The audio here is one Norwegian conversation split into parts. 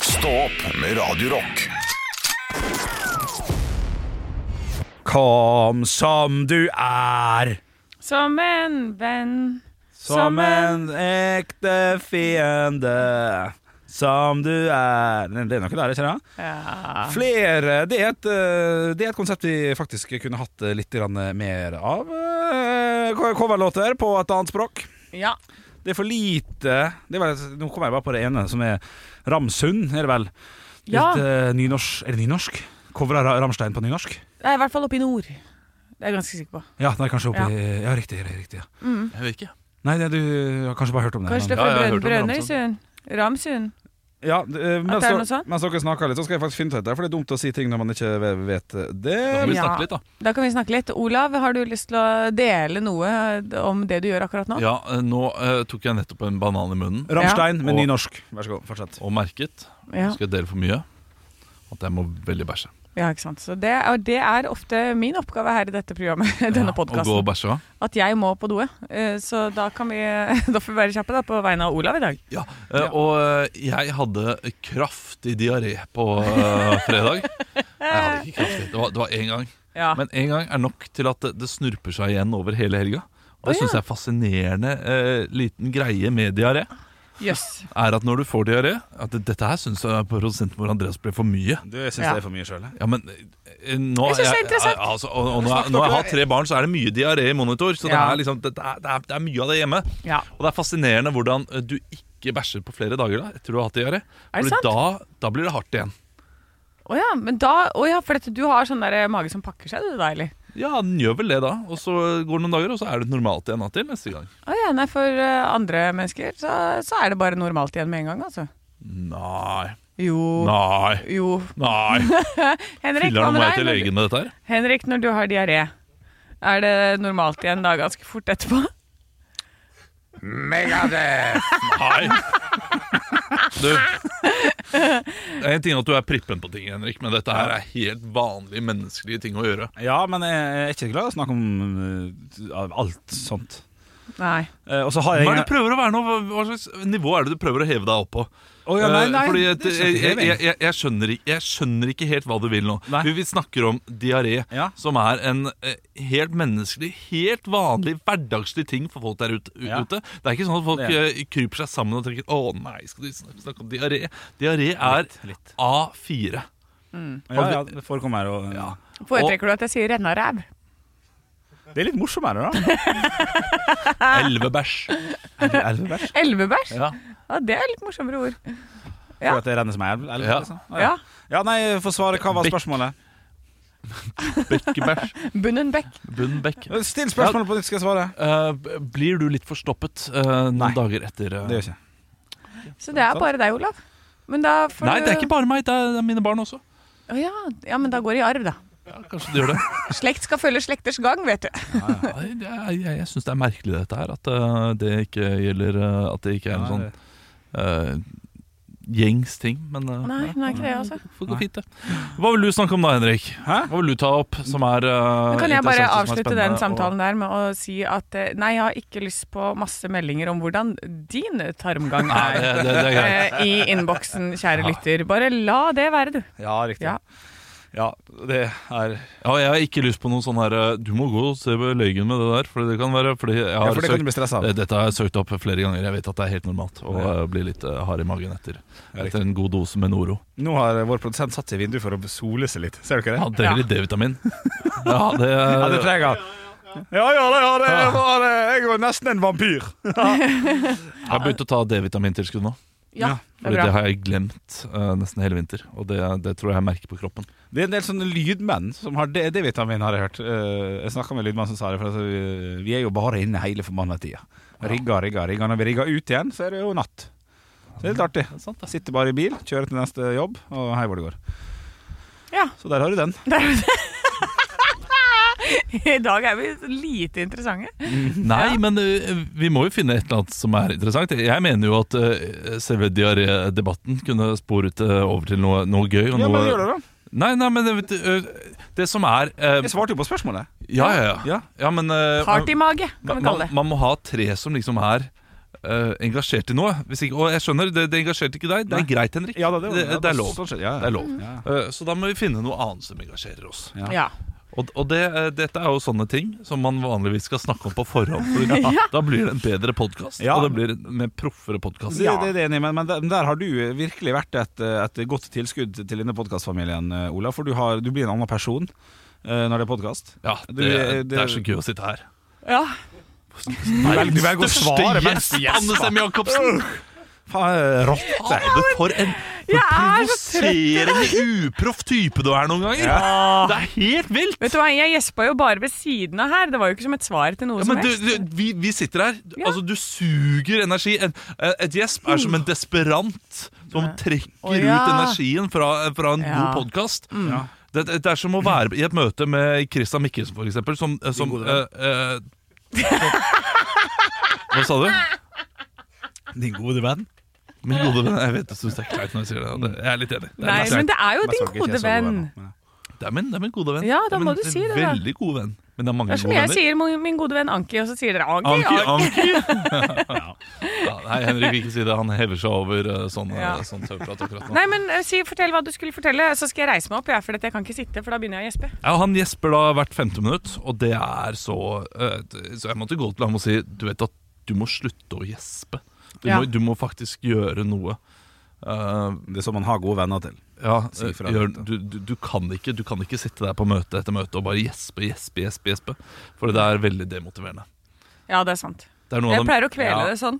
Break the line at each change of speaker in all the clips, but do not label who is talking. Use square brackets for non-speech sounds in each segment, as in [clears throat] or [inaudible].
Stå opp med Radio Rock.
Kom som du er,
Som en venn.
som en ekte fiende. Som du er Den er noe der, kjenner jeg.
Ja.
Flere det er, et, eh, det er et konsept vi faktisk kunne hatt eh, litt grann mer av. Eh, co- Coverlåter på et annet språk.
ja.
Det er for lite det er vel, Nå kommer jeg bare på det ene, som er Ramsund, er det vel? Litt
Ja.
eh, nynorsk Er det nynorsk? Cover av Ra- Rammstein på nynorsk?
Det er i hvert fall oppe i nord. Det er jeg ganske sikker på. Mm.
Ja, det er kanskje oppi Ja, riktig. riktig ja.
Jeg vet ikke.
Nei, det, du har kanskje bare hørt om det.
Kanskje det
men-
er fra
Ja, jeg har hørt
Brønn-
om altså.
Brønnøysund? Ramsund?
ja, d- eh, mens,
det er
dere-
noe sånt?
mens dere snakker litt, så skal jeg faktisk finne ut dette, for det er dumt å si ting når man ikke ve- vet det.
Da må vi
Eh, Ja.
snakke litt, da.
Da kan vi snakke litt. Olav, har du lyst til å dele noe eh, om det du gjør akkurat nå?
Ja, eh, nå eh, tok jeg nettopp en banan i munnen
Rammstein med
Og-
nynorsk. Vær så god, fortsett.
og merket,
Ja,
skal jeg dele for mye, at jeg må veldig bæsje.
ja ikke sant. Så det, og det er ofte min oppgave her i dette programmet, [laughs] denne
Og gå og
podkasten,
bæsje òg.
at jeg må på doet. Eh, Så da kan vi [laughs] Da får vi være kjappe da, på vegne av Olav i dag.
Ja. eh, Og eh, jeg hadde kraftig diaré på eh, fredag. Jeg hadde ikke kraftig. Det var- det var én gang.
Ja.
Men én gang er nok til at det, det snurper seg igjen over hele helga. Og
Å,
det
ja.
syns jeg er fascinerende eh, liten greie med diaré.
Jøss.
Er at når du får diaré at det- Dette her syns jeg produsenten vår Andreas ble for mye.
Du, jeg syns
Ja.
det er for mye sjøl.
Ja, men eh, nå,
Jeg synes det er
jeg-
interessant.
eh, altså, og, og, nå, er- når jeg har tre barn, så er det mye diaré i monitor. Så
Ja.
det, er liksom, det, det, er, det, er, det er mye av det hjemme.
Ja.
Og det er fascinerende hvordan eh, du ikke bæsjer på flere dager da, etter du har hatt diaré.
Er det sant?
Da, da blir det hardt igjen.
Å ja, men da, å ja, for dette, du har sånn der mage som pakker seg, du da, eller?
Ja, den gjør vel det, da. Og så går det noen dager, og så er det normalt igjen da, til neste gang.
Å ja, nei, for eh, andre mennesker så, så er det bare normalt igjen med en gang, altså.
Nei.
Jo.
Nei.
Jo. [laughs]
Nei.
Henrik, hva med
Filler'n må jeg
deg? Når
til
du,
legen med dette her.
Henrik, når du har diaré, er det normalt igjen da ganske fort etterpå?
Megadeth!
[laughs]
Nei. Du. Det er en ting at du er prippen på ting, Henrik, men dette her er helt vanlige menneskelige ting å gjøre.
Ja, men jeg er ikke glad i å snakke om eh, alt sånt.
[laughs] Nei.
Eh, og så har jeg
Hva er det
ingen
du prøver å være nå? Hva- Hva slags nivå er det du prøver å heve deg opp på?
Å, ja, nei,
Eh,
nei,
Fordi at,
det er
jeg,
ikke
jeg,
heving.
jeg, jeg, skjønner ikke, jeg skjønner ikke helt hva du vil nå.
Nei.
Vi, vi snakker om diaré,
Ja.
som er en eh, helt menneskelig, helt vanlig, hverdagslig ting for folk der ute.
Ja.
ute. Det er ikke sånn at folk
Det
eh, kryper seg sammen og tenker Å nei, skal de snakke, snakke om diaré? Diaré er
litt.
A4.
Ja, ja, det forekommer og
Ja.
Foretrekker du at jeg sier renna ræv?
Det er litt morsommere,
[laughs]
da.
Elvebæsj.
Er det elv, bæsj?
Elvebæsj?
Ja.
Ja, det er litt morsommere ord. Ja.
For at det renner som ei elv? elv
Ja.
Liksom.
Ja.
ja, nei, få svare. Hva var
Bekk.
spørsmålet?
Bekkebæsj.
Bunnenbekk.
Bunnbekk.
Still spørsmålet på nytt, skal jeg svare.
Eh, b- blir du litt forstoppet eh, noen
Nei.
dager etter eh,
Det gjør jeg ikke.
Så det er bare deg, Olav. Men da får
Nei,
du
det er ikke bare meg, det er det er mine barn også.
Å ja. ja, men da går det i arv, da.
Ja, kanskje de gjør det.
Slekt skal følge slekters gang, vet du.
[laughs] Nei, det er- Jeg, jeg, jeg syns det er merkelig dette her, at eh, det ikke gjelder eh, At det ikke er en sånn
Nei,
eh, gjengs ting. Men eh,
Nei,
ja,
det er ikke det, altså.
får gå fint, det. Hva vil du snakke om da, Henrik?
Hæ?
Hva vil du ta opp som er eh,
Men kan jeg bare
interessant og som er
avslutte den
spennende og-
samtalen der med å si at eh, nei, jeg har ikke lyst på masse meldinger om hvordan din tarmgang
Nei,
er
det, det, det er greit.
eh, i innboksen, kjære lytter. Bare la det være, du.
Ja, riktig.
Ja.
Ja, det er
Ja, jeg har ikke lyst på noen sånn her eh, Du må gå og se på legen med det der, for det kan være fordi jeg
Ja,
har
for det
søkt
kan du bli stressa av.
Eh, Dette har jeg søkt opp flere ganger. Jeg vet at det er helt normalt å
Ja.
eh, bli litt eh, hard i magen etter,
Ja,
etter en god dose med Noro.
Nå har vår produsent satt seg i vinduet for å sole seg litt. Ser dere
Ja,
det?
trenger litt D-vitamin. Ja, det, Ah.
Ja, det trenger han. Ja, ja, det, ja, det, var det. jeg var nesten en vampyr.
jeg har begynt å ta D-vitamintilskudd nå.
Ja,
Ja, det
For
er
det
bra.
har jeg glemt eh, nesten hele vinter. Og det, det tror jeg jeg merker på kroppen.
Det er en del sånne lydmenn som har D- D-vitamin, har jeg hørt. Eh, Jeg snakka med en lydmann som sa det, for altså, vi- vi er jo bare inne hele forbanna tida. Rigga, rigga, rigga. Når vi rigger ut igjen, så er det jo natt. Så det er litt artig. Sitter bare i bil, kjører til neste jobb, og hei hvor det går.
Ja.
Så der har du den.
[laughs] I dag er vi lite interessante.
Nei, men eh, vi må jo finne et eller annet som er interessant. Jeg mener jo at eh, selve diarédebatten kunne sporet eh, over til noe, noe gøy. Og
Ja, men
noe,
gjør det, da.
Nei, nei, men eh, det, det- det som er eh,
Jeg svarte jo på spørsmålet.
Ja, ja, ja.
Ja.
ja men, eh,
Partymage, kan vi
man,
kalle
man,
det.
man må ha tre som liksom er eh, engasjert i noe. Hvis ikke, og jeg skjønner, det, det engasjerte ikke deg. Det er
Nei.
greit, Henrik.
Ja, da, det,
det, det er lov.
Sånn sett, ja, ja.
Det er lov.
Ja.
Eh, Så da må vi finne noe annet som engasjerer oss.
Ja.
Ja.
Og, og det, eh, dette er jo sånne ting som man vanligvis skal snakke om på forhånd.
[laughs]
For Da blir det en bedre podkast,
Ja.
og det blir en mer proffere podkast.
Altså, Det, det er det enig i, men, men der, men der har du virkelig vært et, et godt tilskudd til denne podkastfamilien, Ola. For du, har, du blir en annen person eh, når det er podkast.
Ja, det,
Du, eh, det-
det er så gøy å sitte her.
ja.
velger- du velger å svare mens
gjest,
du gjesper.
Anne Sem Jacobsen!
Faen, rotte!
Fader, for en
Jeg er så
provoserende uproff type du er noen ganger! Det er helt vilt!
Vet du hva, jeg gjespa jo bare ved siden av her. Det var jo ikke som et svar til noe
Ja,
som
men du,
helst.
du, vi, vi sitter her.
Ja.
Altså, du suger energi. En, et gjesp er som en desperant som trekker
Å, ja.
ut energien fra, fra en
Ja. Mm.
god podkast. Det, det er som å være i et møte med Christian Mikkelsen, for eksempel, som, som eh, eh, Hva sa du?
Din gode venn.
Min gode venn. Jeg vet du syns det er kleint når jeg sier det. og det. Jeg er litt enig. Det er,
Nei,
litt
men
kleint.
det er jo
Jeg
din
så ikke
gode
jeg så
venn.
men-
det, er min, det er min gode venn.
Ja, da
Det er
må
min
du si det, da.
Veldig gode venn. Men det er
Det
mange
er som
gode
jeg
venner.
sier min min gode venn Anki, og så sier dere Anki.
Anki,
Anki.
Anki.
[laughs]
ja, nei, Henrik vil ikke si det. Han hever seg over eh, sånn, ja.
Ja.
sånn tørrprat akkurat nå.
Nei, men eh, si, fortell hva du skulle fortelle, så skal jeg reise meg opp. Jeg, for at jeg kan ikke sitte, for da begynner jeg å gjespe.
Ja, han gjesper da hvert femte minutt, og det er så eh, d- Så jeg måtte gå til ham og si Du vet at du må slutte å gjespe. Du,
Ja.
må, du må faktisk gjøre noe. Eh,
Det er sånn man har gode venner til.
ja, eh,
Si fra,
gjør,
da.
du, du, du, kan ikke, du kan ikke sitte der på møte etter møte og bare gjespe, gjespe, gjespe. gjespe For det er veldig demotiverende.
Ja, det er sant.
Det er noe
Jeg
av dem-
pleier å kvele
Ja.
det sånn.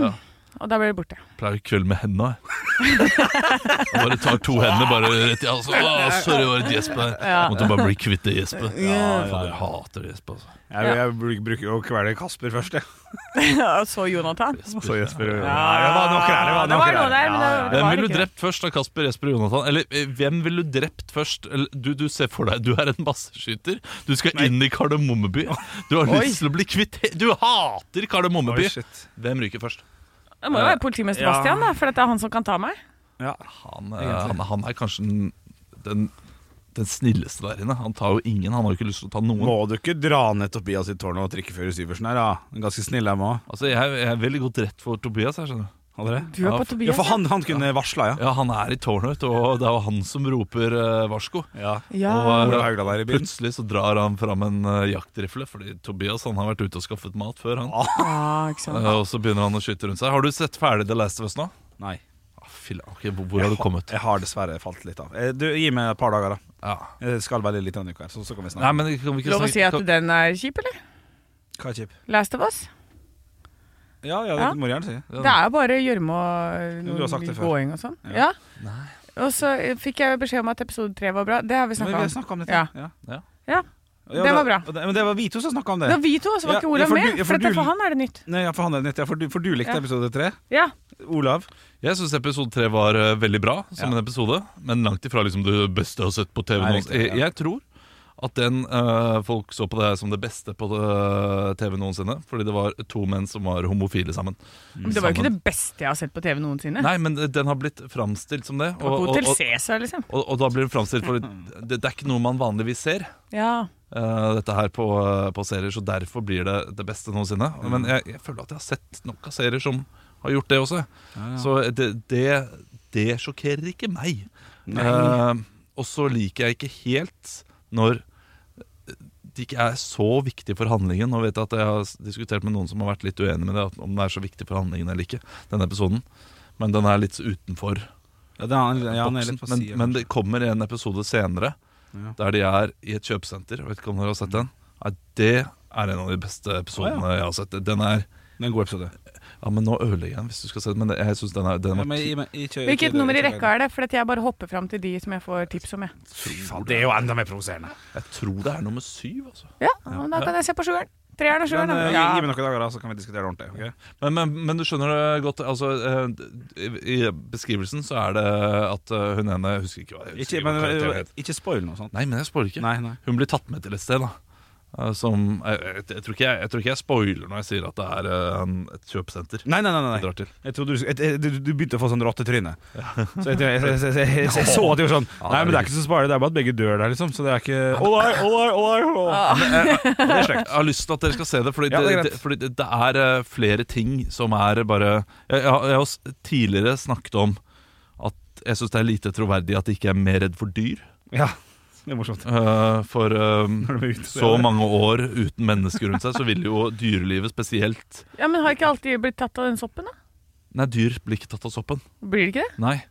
Ja.
Hmm. Og da blir det [laughs] borte.
pleier å kvølle med hendene. jeg. Jeg bare tar to hender bare rett i halsen. Å, sorry, det var et gjesp der.
Ja.
Måtte bare bli kvitt det gjespet. Ja, fader, jeg hater gjesp, altså.
Jeg,
Ja.
jeg bruk- bruker jo å kvele Kasper først, jeg.
Og så Jonathan.
Så Jesper og
Ja.
Nei, det var noe der,
Det var
noe
noe der, men det-
Ja, ja, ja.
Hvem
var
ville du
ikke det.
drept først av Kasper, Jesper og Jonathan? Eller eh, hvem ville du drept først? Eller, Du, du ser for deg, du er en masseskyter. Du skal inn i Kardemommeby. Du har lyst til å bli kvitt Du hater
Oi,
Kardemommeby!
shit.
Hvem ryker først?
Det må jo være politimester
Ja.
Bastian, da, for at det er han som kan ta meg.
Ja.
Han, eh, han, han er kanskje den, den, den snilleste der inne. Han tar jo ingen. Han har jo ikke lyst til å ta noen.
Må du ikke dra ned Tobias i tårnet og trikke før i Syversen her, da? En Ganske snill dem òg.
Altså, jeg, jeg er veldig godt rett for Tobias her, skjønner du.
Hadde det?
Du er
Ja,
på
for-
Ja,
Tobias.
for han, han kunne varsla, ja.
Ja, han er i tårnet, vet du, og det er jo han som roper eh, varsko.
ja.
Ja.
Og,
Ola
eh,
Haugland er i byen.
plutselig så drar han fram en eh, jaktrifle, fordi Tobias han har vært ute og skaffet mat før, han.
Ja, Ah, ikke sant.
Eh, og så begynner han å skyte rundt seg. Har du sett ferdig The Last of Us nå?
Nei.
Ah, fy, ok, hvor, hvor har du kommet?
Jeg har dessverre falt litt av. Eh, Du, Gi meg et par dager, da.
Ja.
Jeg skal veldig lite av en uke her, så, så kan vi
Nei,
snakke.
men kan vi ikke
Lov å
snakke-
si at
kan-
den er kjip, eller?
Hva er kjip?
Last of Us?
Ja, ja, det
Ja.
må du gjerne si.
Ja.
Det er jo bare gjørme og
Du har sagt
noe
det før.
gåing og sånn.
Ja.
Ja. Og så fikk jeg beskjed om at episode tre var bra. Det har vi
Men
snakka
vi har
om.
snakket om dette.
Ja.
Ja.
Ja.
Ja.
Ja,
Det
da-
var bra.
og det- Men det var vi to som snakka om
Det
det.
var vi to, så var
Ja,
ikke
ja,
Olav
for
med.
du- ja, for
For, dette,
du-
for han er det nytt.
Nei, ja, for han er nytt, ja, for, du, for du likte
Ja.
episode tre.
Ja.
Olav.
Jeg syns episode tre var eh, veldig bra som
Ja.
en episode, men langt ifra liksom det beste jeg har sett på TV.
Nei,
noensinne.
riktig, ja.
jeg, jeg tror at den eh, folk så på det som det beste på eh, TV noensinne, fordi det var to menn som var homofile sammen.
Mm.
Men det var jo ikke det beste jeg har sett på TV noensinne.
Nei, men eh, den har blitt framstilt som det.
Det var på Hotel Cæsar, liksom.
og, og da blir det framstilt
[laughs]
for det, det er ikke noe man vanligvis ser.
Ja.
eh, dette her på, på serier, så derfor blir det det beste noensinne. Men jeg, jeg føler at jeg har sett nok av serier som har gjort det også. Så det, det, det sjokkerer ikke meg. Eh, og så liker jeg ikke helt når det ikke er så viktig for handlingen. Nå vet jeg at jeg har s- diskutert med noen som har vært litt uenig med det, at om det er så viktig for handlingen eller ikke, denne episoden. Men den er litt utenfor
Ja, det er, han- ja, han er
boksen.
litt på
Men,
siden.
men det kommer en episode senere
Ja.
der de er i et kjøpesenter. Jeg Vet ikke om dere har sett den? Nei, det er en av de beste episodene jeg har sett. Den er
Det er en god episode.
Ja, men nå ødelegger jeg den, hvis du skal se den. Men jeg synes den er den
Ja,
var
men
ti-
gi meg- ikke- ikke-
Hvilket nummer i
ikke-
rekka er det? For at jeg bare hopper fram til de som jeg får tips om. Jeg.
Fy faen, Det er jo enda mer provoserende.
Jeg tror det er nummer syv, altså.
Ja, men Da kan jeg se på sjueren. Treeren og
Men,
sjueren.
eh,
Ja.
Gi, gi meg noen dager, da, så kan vi diskutere det ordentlig. ok?
Men, men, men du skjønner det godt. Altså, eh, I i beskrivelsen så er det at eh, hun ene jeg husker ikke hva jeg husker
Ikke,
ikke hva
men,
karakteren
eh,
het.
ikke spoil noe sånt.
Nei, men jeg spoiler ikke.
Nei, nei.
Hun blir tatt med til et sted, da. eh, som jeg, jeg, jeg, tror ikke jeg, jeg tror ikke jeg spoiler når jeg sier at det er eh, en, et kjøpesenter.
Nei, nei, nei.
vi
nei.
drar til.
Jeg trodde du, jeg, jeg, du, du begynte å få sånn [laughs] rottetryne. Så jeg, jeg, jeg, jeg, jeg, jeg så at de var sånn Nei, men det er ikke så sparlig, det er bare at begge dør der, liksom. Så det er ikke Å nei, å nei, å nei, å nei.
Jeg, jeg har lyst til at dere skal se det, fordi,
Ja, det er
det,
greit.
det, fordi det, det er eh, flere ting som er bare Jeg, jeg, har- jeg har s- tidligere snakket om at jeg syns det er lite troverdig at jeg ikke er mer redd for dyr.
Ja, det er morsomt.
Eh, for eh,
Når de er ute,
så
ja.
mange år uten mennesker rundt seg, så vil jo dyrelivet spesielt
Ja, Men har ikke alltid blitt tatt av den soppen, da?
Nei, dyr blir ikke tatt av soppen.
Blir det ikke det?
Nei.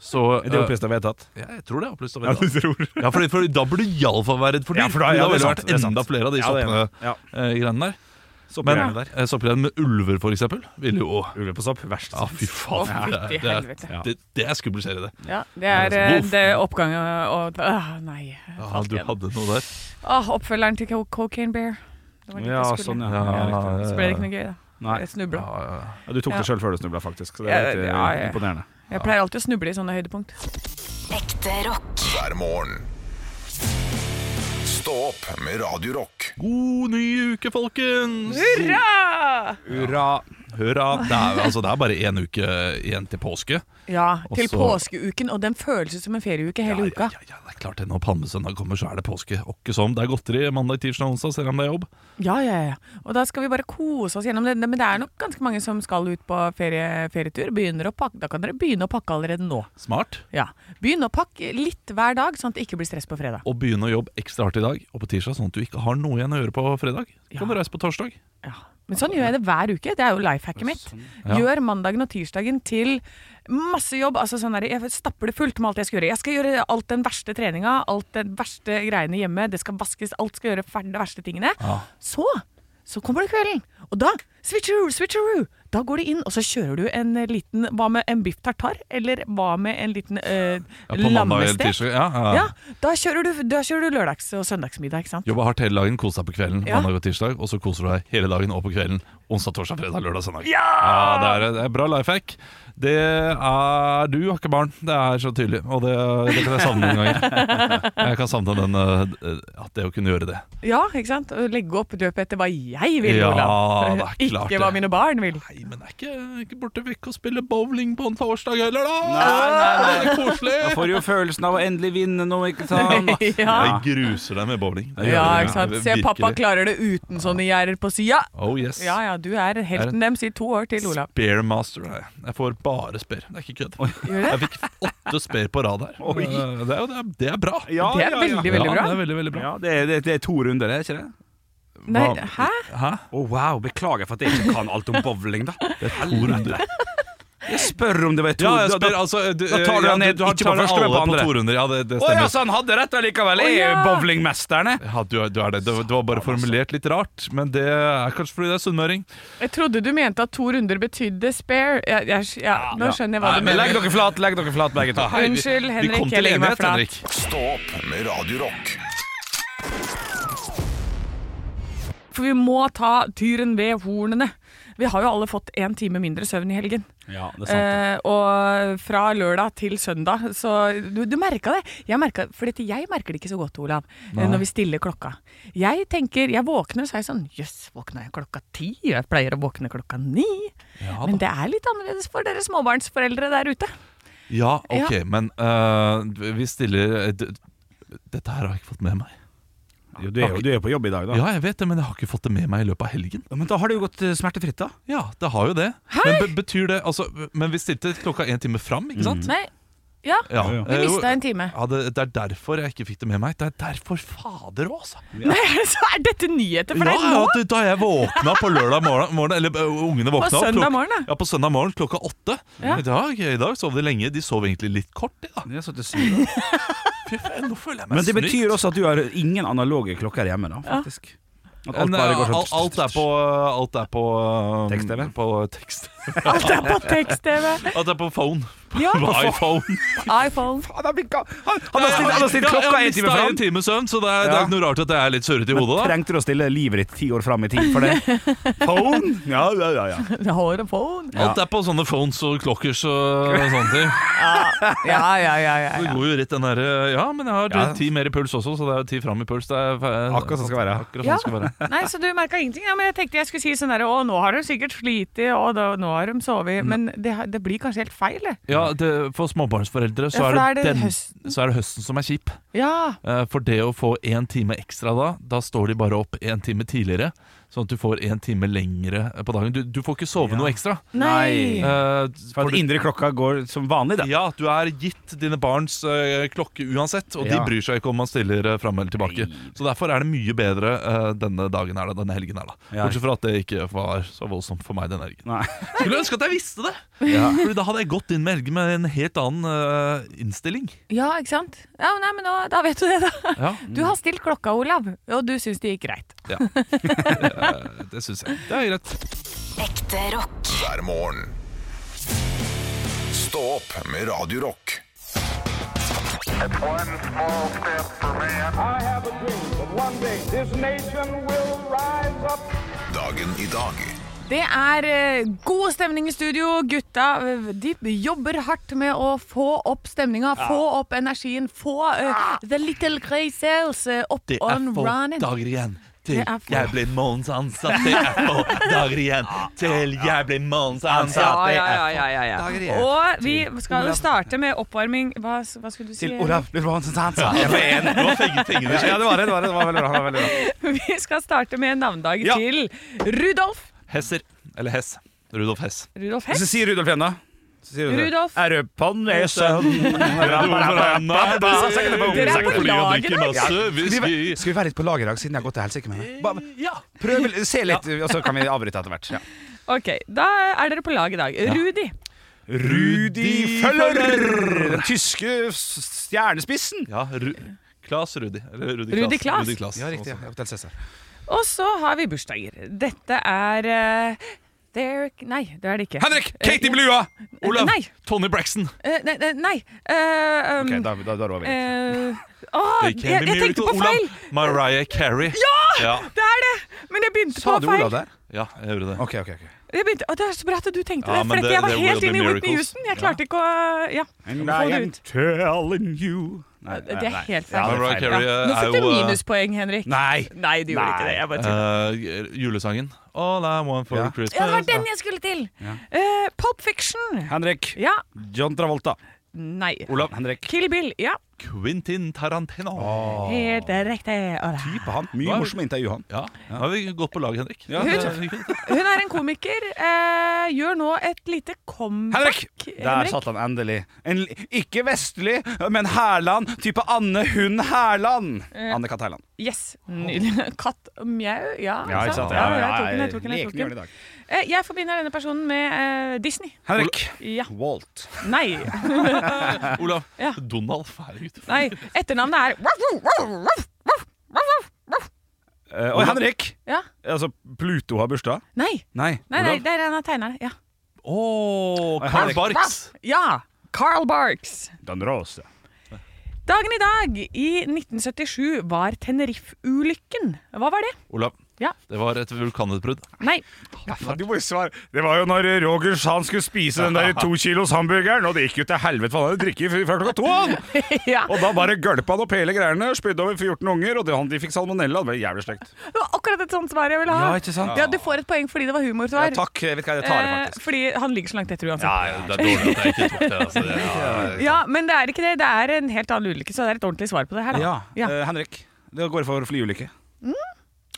Så
Er det
eh,
opplyst og vedtatt?
ja, Jeg tror det er opplyst av
Ja,
vedtatt.
du tror
Ja, fordi, fordi da burde du iallfall være redd for dyr.
Ja, for da- ja,
det
det er
ville
sant,
vært
det er
enda
sant.
flere av de
Ja, det er
soppene
Ja,
eh, greiene der. Men
Soppgreiene der.
eh, soppgreiene med ulver, for eksempel, ville jo
Ulve på sopp, verst.
Ja, fy
Å,
faen.
fytti
det, er- det,
helvete.
Ja.
er- det, det er skummel serie, det.
Ja, det er eh,
Voff.
det oppgangen og Åh, nei. jeg
Ja,
falt
du
igjen.
hadde noe der.
Åh, oppfølgeren til Co- Cocaine Bear. Det var litt
Ja,
jeg skulle.
sånn, ja. ja. riktig.
Så ble det ikke noe gøy, da.
Nei,
Jeg snubla.
Ja, ja, ja.
ja, du tok det
Ja.
sjøl før du snubla, faktisk. Så det er litt eh,
Ja, ja, ja.
imponerende.
Jeg pleier alltid å snuble i sånne høydepunkt.
Ekte rock.
hver morgen. Stå opp med Radio Rock.
God ny uke, folkens!
Hurra!
Hurra.
Hurra! Det er, altså, det er bare én uke igjen til påske.
Ja, til
Og så-
påskeuken, og den føles ut som en ferieuke hele
ja,
uka.
ja, ja, det er klart det. Når palmesøndag kommer, så er det påske. Åkke som. Det er godteri mandag, tirsdag, onsdag, selv om det er jobb.
Ja, ja, ja. Og da skal vi bare kose oss gjennom det. Men det er nok ganske mange som skal ut på ferie, ferietur. Begynner å pakke. Da kan dere begynne å pakke allerede nå.
Smart.
Ja. Begynn å pakke litt hver dag, sånn at det ikke blir stress på fredag.
Og begynne å jobbe ekstra hardt i dag og på tirsdag, sånn at du ikke har noe igjen å gjøre på fredag. Så
Ja.
kan du reise på torsdag.
Ja. Men sånn gjør jeg det hver uke. Det er jo life hacket mitt.
Ja.
Gjør mandagen og tirsdagen til masse jobb. Altså sånn der, jeg stapper det fullt med alt jeg skal gjøre. Jeg skal gjøre alt den verste treninga, alt den verste greiene hjemme. Det skal vaskes, alt skal gjøre ferdig de verste tingene.
Ja.
Så, så kommer det kvelden. Og da switcheroo, switcheroo. Da går du inn, og så kjører du en liten Hva med en biff tartar? Eller hva med en liten eh,
Ja, på mandag eller
lammestek?
tirsdag. Ja, ja.
Ja, da kjører, du, da kjører du lørdags- og søndagsmiddag, ikke sant?
Jobba hardt hele dagen, kos deg på kvelden,
Ja.
mandag og tirsdag. Og så koser du deg hele dagen og på kvelden. Onsdag, torsdag, fredag, lørdag, søndag.
Ja!
det, er, det er bra life hack. Det er Du har ikke barn, det er så tydelig. Og det, det kan jeg savne noen ganger.
[laughs]
Jeg kan savne den eh, at det å kunne gjøre det.
Ja, ikke sant? Og legge opp løpet etter hva jeg vil,
Ja,
Olav. [laughs]
det er klart
Ikke
det.
hva mine barn vil.
Nei, men det er ikke, ikke borte vekk og spille bowling på en torsdag heller, da!
[laughs]
Det er koselig!
Da får du jo følelsen av å endelig vinne noe, ikke
[laughs]
sant?
Ja.
Jeg gruser deg med bowling. Det gjør
ja,
jeg.
ikke sant. Se,
Virkelig.
pappa klarer det uten sånne gjerder på sida.
Oh yes.
Ja ja, du er helten deres i to år til, Olav.
Spare master er jeg. Jeg får bare spare. Det er ikke kødd.
Gjør det?
Jeg fikk åtte spare på rad her.
Oi.
Eh, Det er, jo- det er, det er bra.
[laughs] Ja,
Det
ja,
er
ja.
veldig, veldig
Ja,
bra.
det er veldig, veldig bra.
Ja, det er, det, det er to runder, er det ikke det?
Nei,
Hva-
hæ?
Hæ?
Å wow, beklager for at jeg ikke kan alt om bowling, da. Helvete. Jeg spør om det var to
Ja,
da-
jeg
da-
spør, altså du,
da tar du
ja,
den ned,
har-
ikke på
tar
første, men på
alle
andre.
to runder. Ja, det, det
Å ja, sånn.
stemmer.
så han hadde rett allikevel! Jeg er
Å, ja.
bowlingmesterne.
Ja, du, er- du er det. det. var- Det var bare formulert litt rart, men det er kanskje fordi det er sunnmøring.
Jeg trodde du mente at to runder betydde spare. Jeg, jeg, ja, nå skjønner jeg hva du
Men legg
mener.
dere flat, legg dere flat begge to.
Hei, vi-
Unnskyld,
Vi kom
Henrik, jeg
til
legger meg
enighet,
flat.
Henrik.
Stå opp med Radio Rock
For vi må ta tyren ved hornene. Vi har jo alle fått én time mindre søvn i helgen.
Ja, det
Eh, og fra lørdag til søndag. Så du, du merka det. Jeg merka, for dette, jeg merker det ikke så godt, Olav, eh, når vi stiller klokka. Jeg tenker, jeg våkner, så er jeg sånn Jøss, våkna jeg klokka ti? Jeg pleier å våkne klokka ni.
Ja,
Men det er litt annerledes for dere småbarnsforeldre der ute.
Ja, ok, men eh, vi stiller eh, d- Dette her har jeg ikke fått med meg.
Jo, du, er jo, du er jo på jobb i dag, da.
Ja, jeg vet det, men jeg har ikke fått det med meg i løpet av helgen.
Ja, Men da har det jo gått eh, smertefritt, da.
Ja, det har jo det. Men be betyr det altså, Men vi stilte klokka en time fram, ikke sant?
Nei, ja.
Ja,
Mm. Ja, ja.
Vi
Mm. eh, jo-
mista en time.
Ja, det, det er derfor jeg ikke fikk det med meg. Det er derfor fader òg, altså.
Nei, [laughs] så er dette nyheter for
ja,
deg nå!
ja, du, da jeg våkna på lørdag morgen, morgen eller ø, ungene våkna opp
søndag
klok-
morgen, da.
Ja, på søndag morgen klokka åtte.
Ja.
I dag, I dag sov de lenge. De sov egentlig litt kort, de, da.
Jeg satt og syv, da.
Fy faen, nå føler jeg meg
Men det
snytt.
betyr også at du har ingen analoge klokker hjemme, da, faktisk. At alt bare går
Alt,
sånn
eh, alt er på eh, Alt er på ø,
Tekst-TV?
På tekst
[laughs] Alt er på tekst-TV.
[laughs] Alt er på phone.
Ja,
på iPhone.
iPhone.
[laughs]
[laughs]
Han har blitt ga- han- han har stilt, han har stilt
Ja, jeg
klokka
har
én time
mistet
fram.
en time søvn, så det er, det er ikke noe rart at jeg er litt surrete i hodet. da
Trengte du å stille livet ditt ti år fram i tid for det? [laughs] Phone? Ja, ja, ja. ja.
Har en phone.
Alt er på sånne phones og klokkers
[laughs]
og sånne ting.
Ja, ja, ja. ja,
Det
ja.
går jo rett den derre Ja, men jeg har
Ja.
ti mer i puls også, så det er jo ti fram i puls. Det er
Akkurat sånn skal det være.
Akkurat sånn
Ja.
det skal
[laughs]
være.
Nei, så du merka ingenting? Ja, men jeg tenkte jeg skulle si sånn der Å, nå har de sikkert slitt, og da, nå har de sovet. Men det, har- det blir kanskje helt feil, det.
Ja, det, For småbarnsforeldre så,
Ja, for da
er det
er det
den,
høsten.
så er det høsten som er kjip.
Ja.
Eh, For det å få én time ekstra da, da står de bare opp én time tidligere. Sånn at du får én time lengre på dagen. Du, du får ikke sove
Ja.
noe ekstra.
Nei.
Nei.
Eh,
For
for
at
du-
indre klokka går som vanlig, da.
ja, du er gitt dine barns eh, klokke uansett, og
Ja.
de bryr seg ikke om man stiller uh, fram eller tilbake.
Nei.
Så derfor er det mye bedre eh, denne dagen her, da, denne helgen her, da.
Ja.
Bortsett fra at det ikke var så voldsomt for meg denne
[laughs]
helgen.
Nei.
Skulle ønske at jeg visste det!
[laughs]
Fordi da hadde jeg gått inn med helgen med en helt annen eh, innstilling.
Ja, ikke sant? Ja, nei, men da, da vet du det, da.
Ja,
Du har stilt klokka, Olav, og du syns det gikk greit.
Det syns jeg. Det er greit.
Ekte rock.
hver morgen. Stå opp med Radio Rock.
One small step for man.
I have a dream that one day this nation will rise up.
Dagen i dag.
Det er eh, god stemning i studio. Gutta eh, de jobber hardt med å få opp stemninga, få opp energien, få eh, the little grey sales eh, opp
Ah. Det er
on
få
running.
dager igjen til
Det er få-
jeg blir månedsansatt. Det er få dager igjen til jeg blir månedsansatt.
Ja,
Det
ja,
er
ja, ja, ja, ja. Og vi skal jo starte med oppvarming. Hva, hva skulle du si?
Til Olav Lundvansen Hansen. Ja, det
Det var fegge- fengende
var det, det var det. Det var veldig bra. Det var veldig bra.
[laughs] Vi skal starte med navnedag
Ja.
til Rudolf.
Hesser. Eller Hess. Rudolf Hess.
Rudolf
Så
Hess.
sier Rudolf igjen, da. Så sier
Rudolf.
Er du på nesen? Dere
er på lag i dag.
Skal vi være litt på lag i dag, siden jeg har gått til helsike med meg? Bare- Prøv, se litt, og så kan vi avbryte etter hvert. Ja.
Ok, Da er dere på lag i dag. Rudi.
Rudi Føller! Den tyske s- stjernespissen.
Ja, Ru Klas Rudi. Eller Rudi
Rudi
Klas. altså.
Klas.
Ja, riktig. Ja. Hotel Cæsar.
Og så har vi bursdager. Dette er eh, Derek Nei, det er det ikke.
Henrik! Katie Blua! Olav!
Eh, Nei.
Tony Braxton!
Eh, nei, nei, nei. eh, um,
Ok, da, da, da var vi litt.
eh, åh,
They
jeg,
Can Be
jeg tenkte
Miracle.
på feil!
Olav, Mariah Carey. Ja!
Det er det! Men jeg begynte
Sa
på
du
Eh, feil.
Olav der?
Ja, jeg gjorde det.
Ok, ok. ok
Jeg begynte, å, det er så bra at du tenkte
Ja,
det, for
men
at
det-
jeg var
det will
helt
be
inne i Whitney
miracles.
Houston. Jeg klarte ikke å ja, få det ut.
telling you Nei,
Det er helt feil.
Ja, det
Mariah
er feil.
Carey
Ja. Nå
eh, er
fikk du
jo eh,
minuspoeng, Henrik.
Nei!
Nei, du gjorde ikke det. Jeg bare tuller.
eh, julesangen. All I want for
Ja.
Christmas
Ja, det var den jeg skulle til! Eh, Pulp Fiction.
Henrik.
Ja.
John Travolta.
Nei.
Olav. Henrik.
Kill Bill. Ja.
Quentin Tarantino.
Ah. Helt riktig. Å, det er-
Type han. Mye
Hva?
morsomme intervju, han.
Ja, Nå har vi gått på lag, Henrik.
Ja,
det-
Hun er en comiker. Eh, gjør nå et lite comeback.
Henrik! Der satt han endelig. En, l- ikke vestlig, men Hærland. Type Anne Hun Hærland.
Eh,
Anne Kat. Hærland.
Yes. Nydelig. [laughs] Katt og mjau. Ja,
Ja, ikke sant?
Ja,
Ja,
jeg tok
ja,
den, jeg tok den. Jeg, tok
lekne gjør det i
den.
dag.
Eh, jeg forbinder denne personen med eh, Disney.
Henrik.
Ja.
Walt.
Nei.
[laughs]
Olav.
[laughs] Ja.
Donald. Herregud.
Nei. Etternavnet er
Eh, og Henrik.
Ja.
Altså, Pluto har bursdag.
Nei.
Nei.
Nei, nei, det er en av tegnerne. Ja.
Åh,
Henrik.
Carl Barks.
ja. Carl Barks.
Dan Rose.
Dagen i dag i 1977 var Tenerife-ulykken. Hva var det?
Olav.
Ja.
Det var et vulkanutbrudd.
Nei.
Du må jo svare. Det var jo når Rogers han skulle spise den [laughs] der to kilos hamburgeren, og det gikk jo til helvete, for han hadde drukket fra klokka to. han.
Ja.
Og da bare gølpa han opp hele greiene, spydde over 14 unger, og det, han, de fikk salmonella. Det var jævlig slekt.
Det var akkurat et sånt svar jeg ville ha.
Ja, ikke sant?
Ja, du får et poeng fordi det var humorsvar.
takk. Jeg vet hva jeg
Eh, fordi han ligger så langt etter uansett.
Nei, det er dårlig at jeg ikke tok det. Altså.
[laughs]
det er-
Ja, men det er ikke det. Det er en helt annen ulykke, så det er et ordentlig svar på det her. Da.
Ja, eh, Henrik. Det går for flyulykke.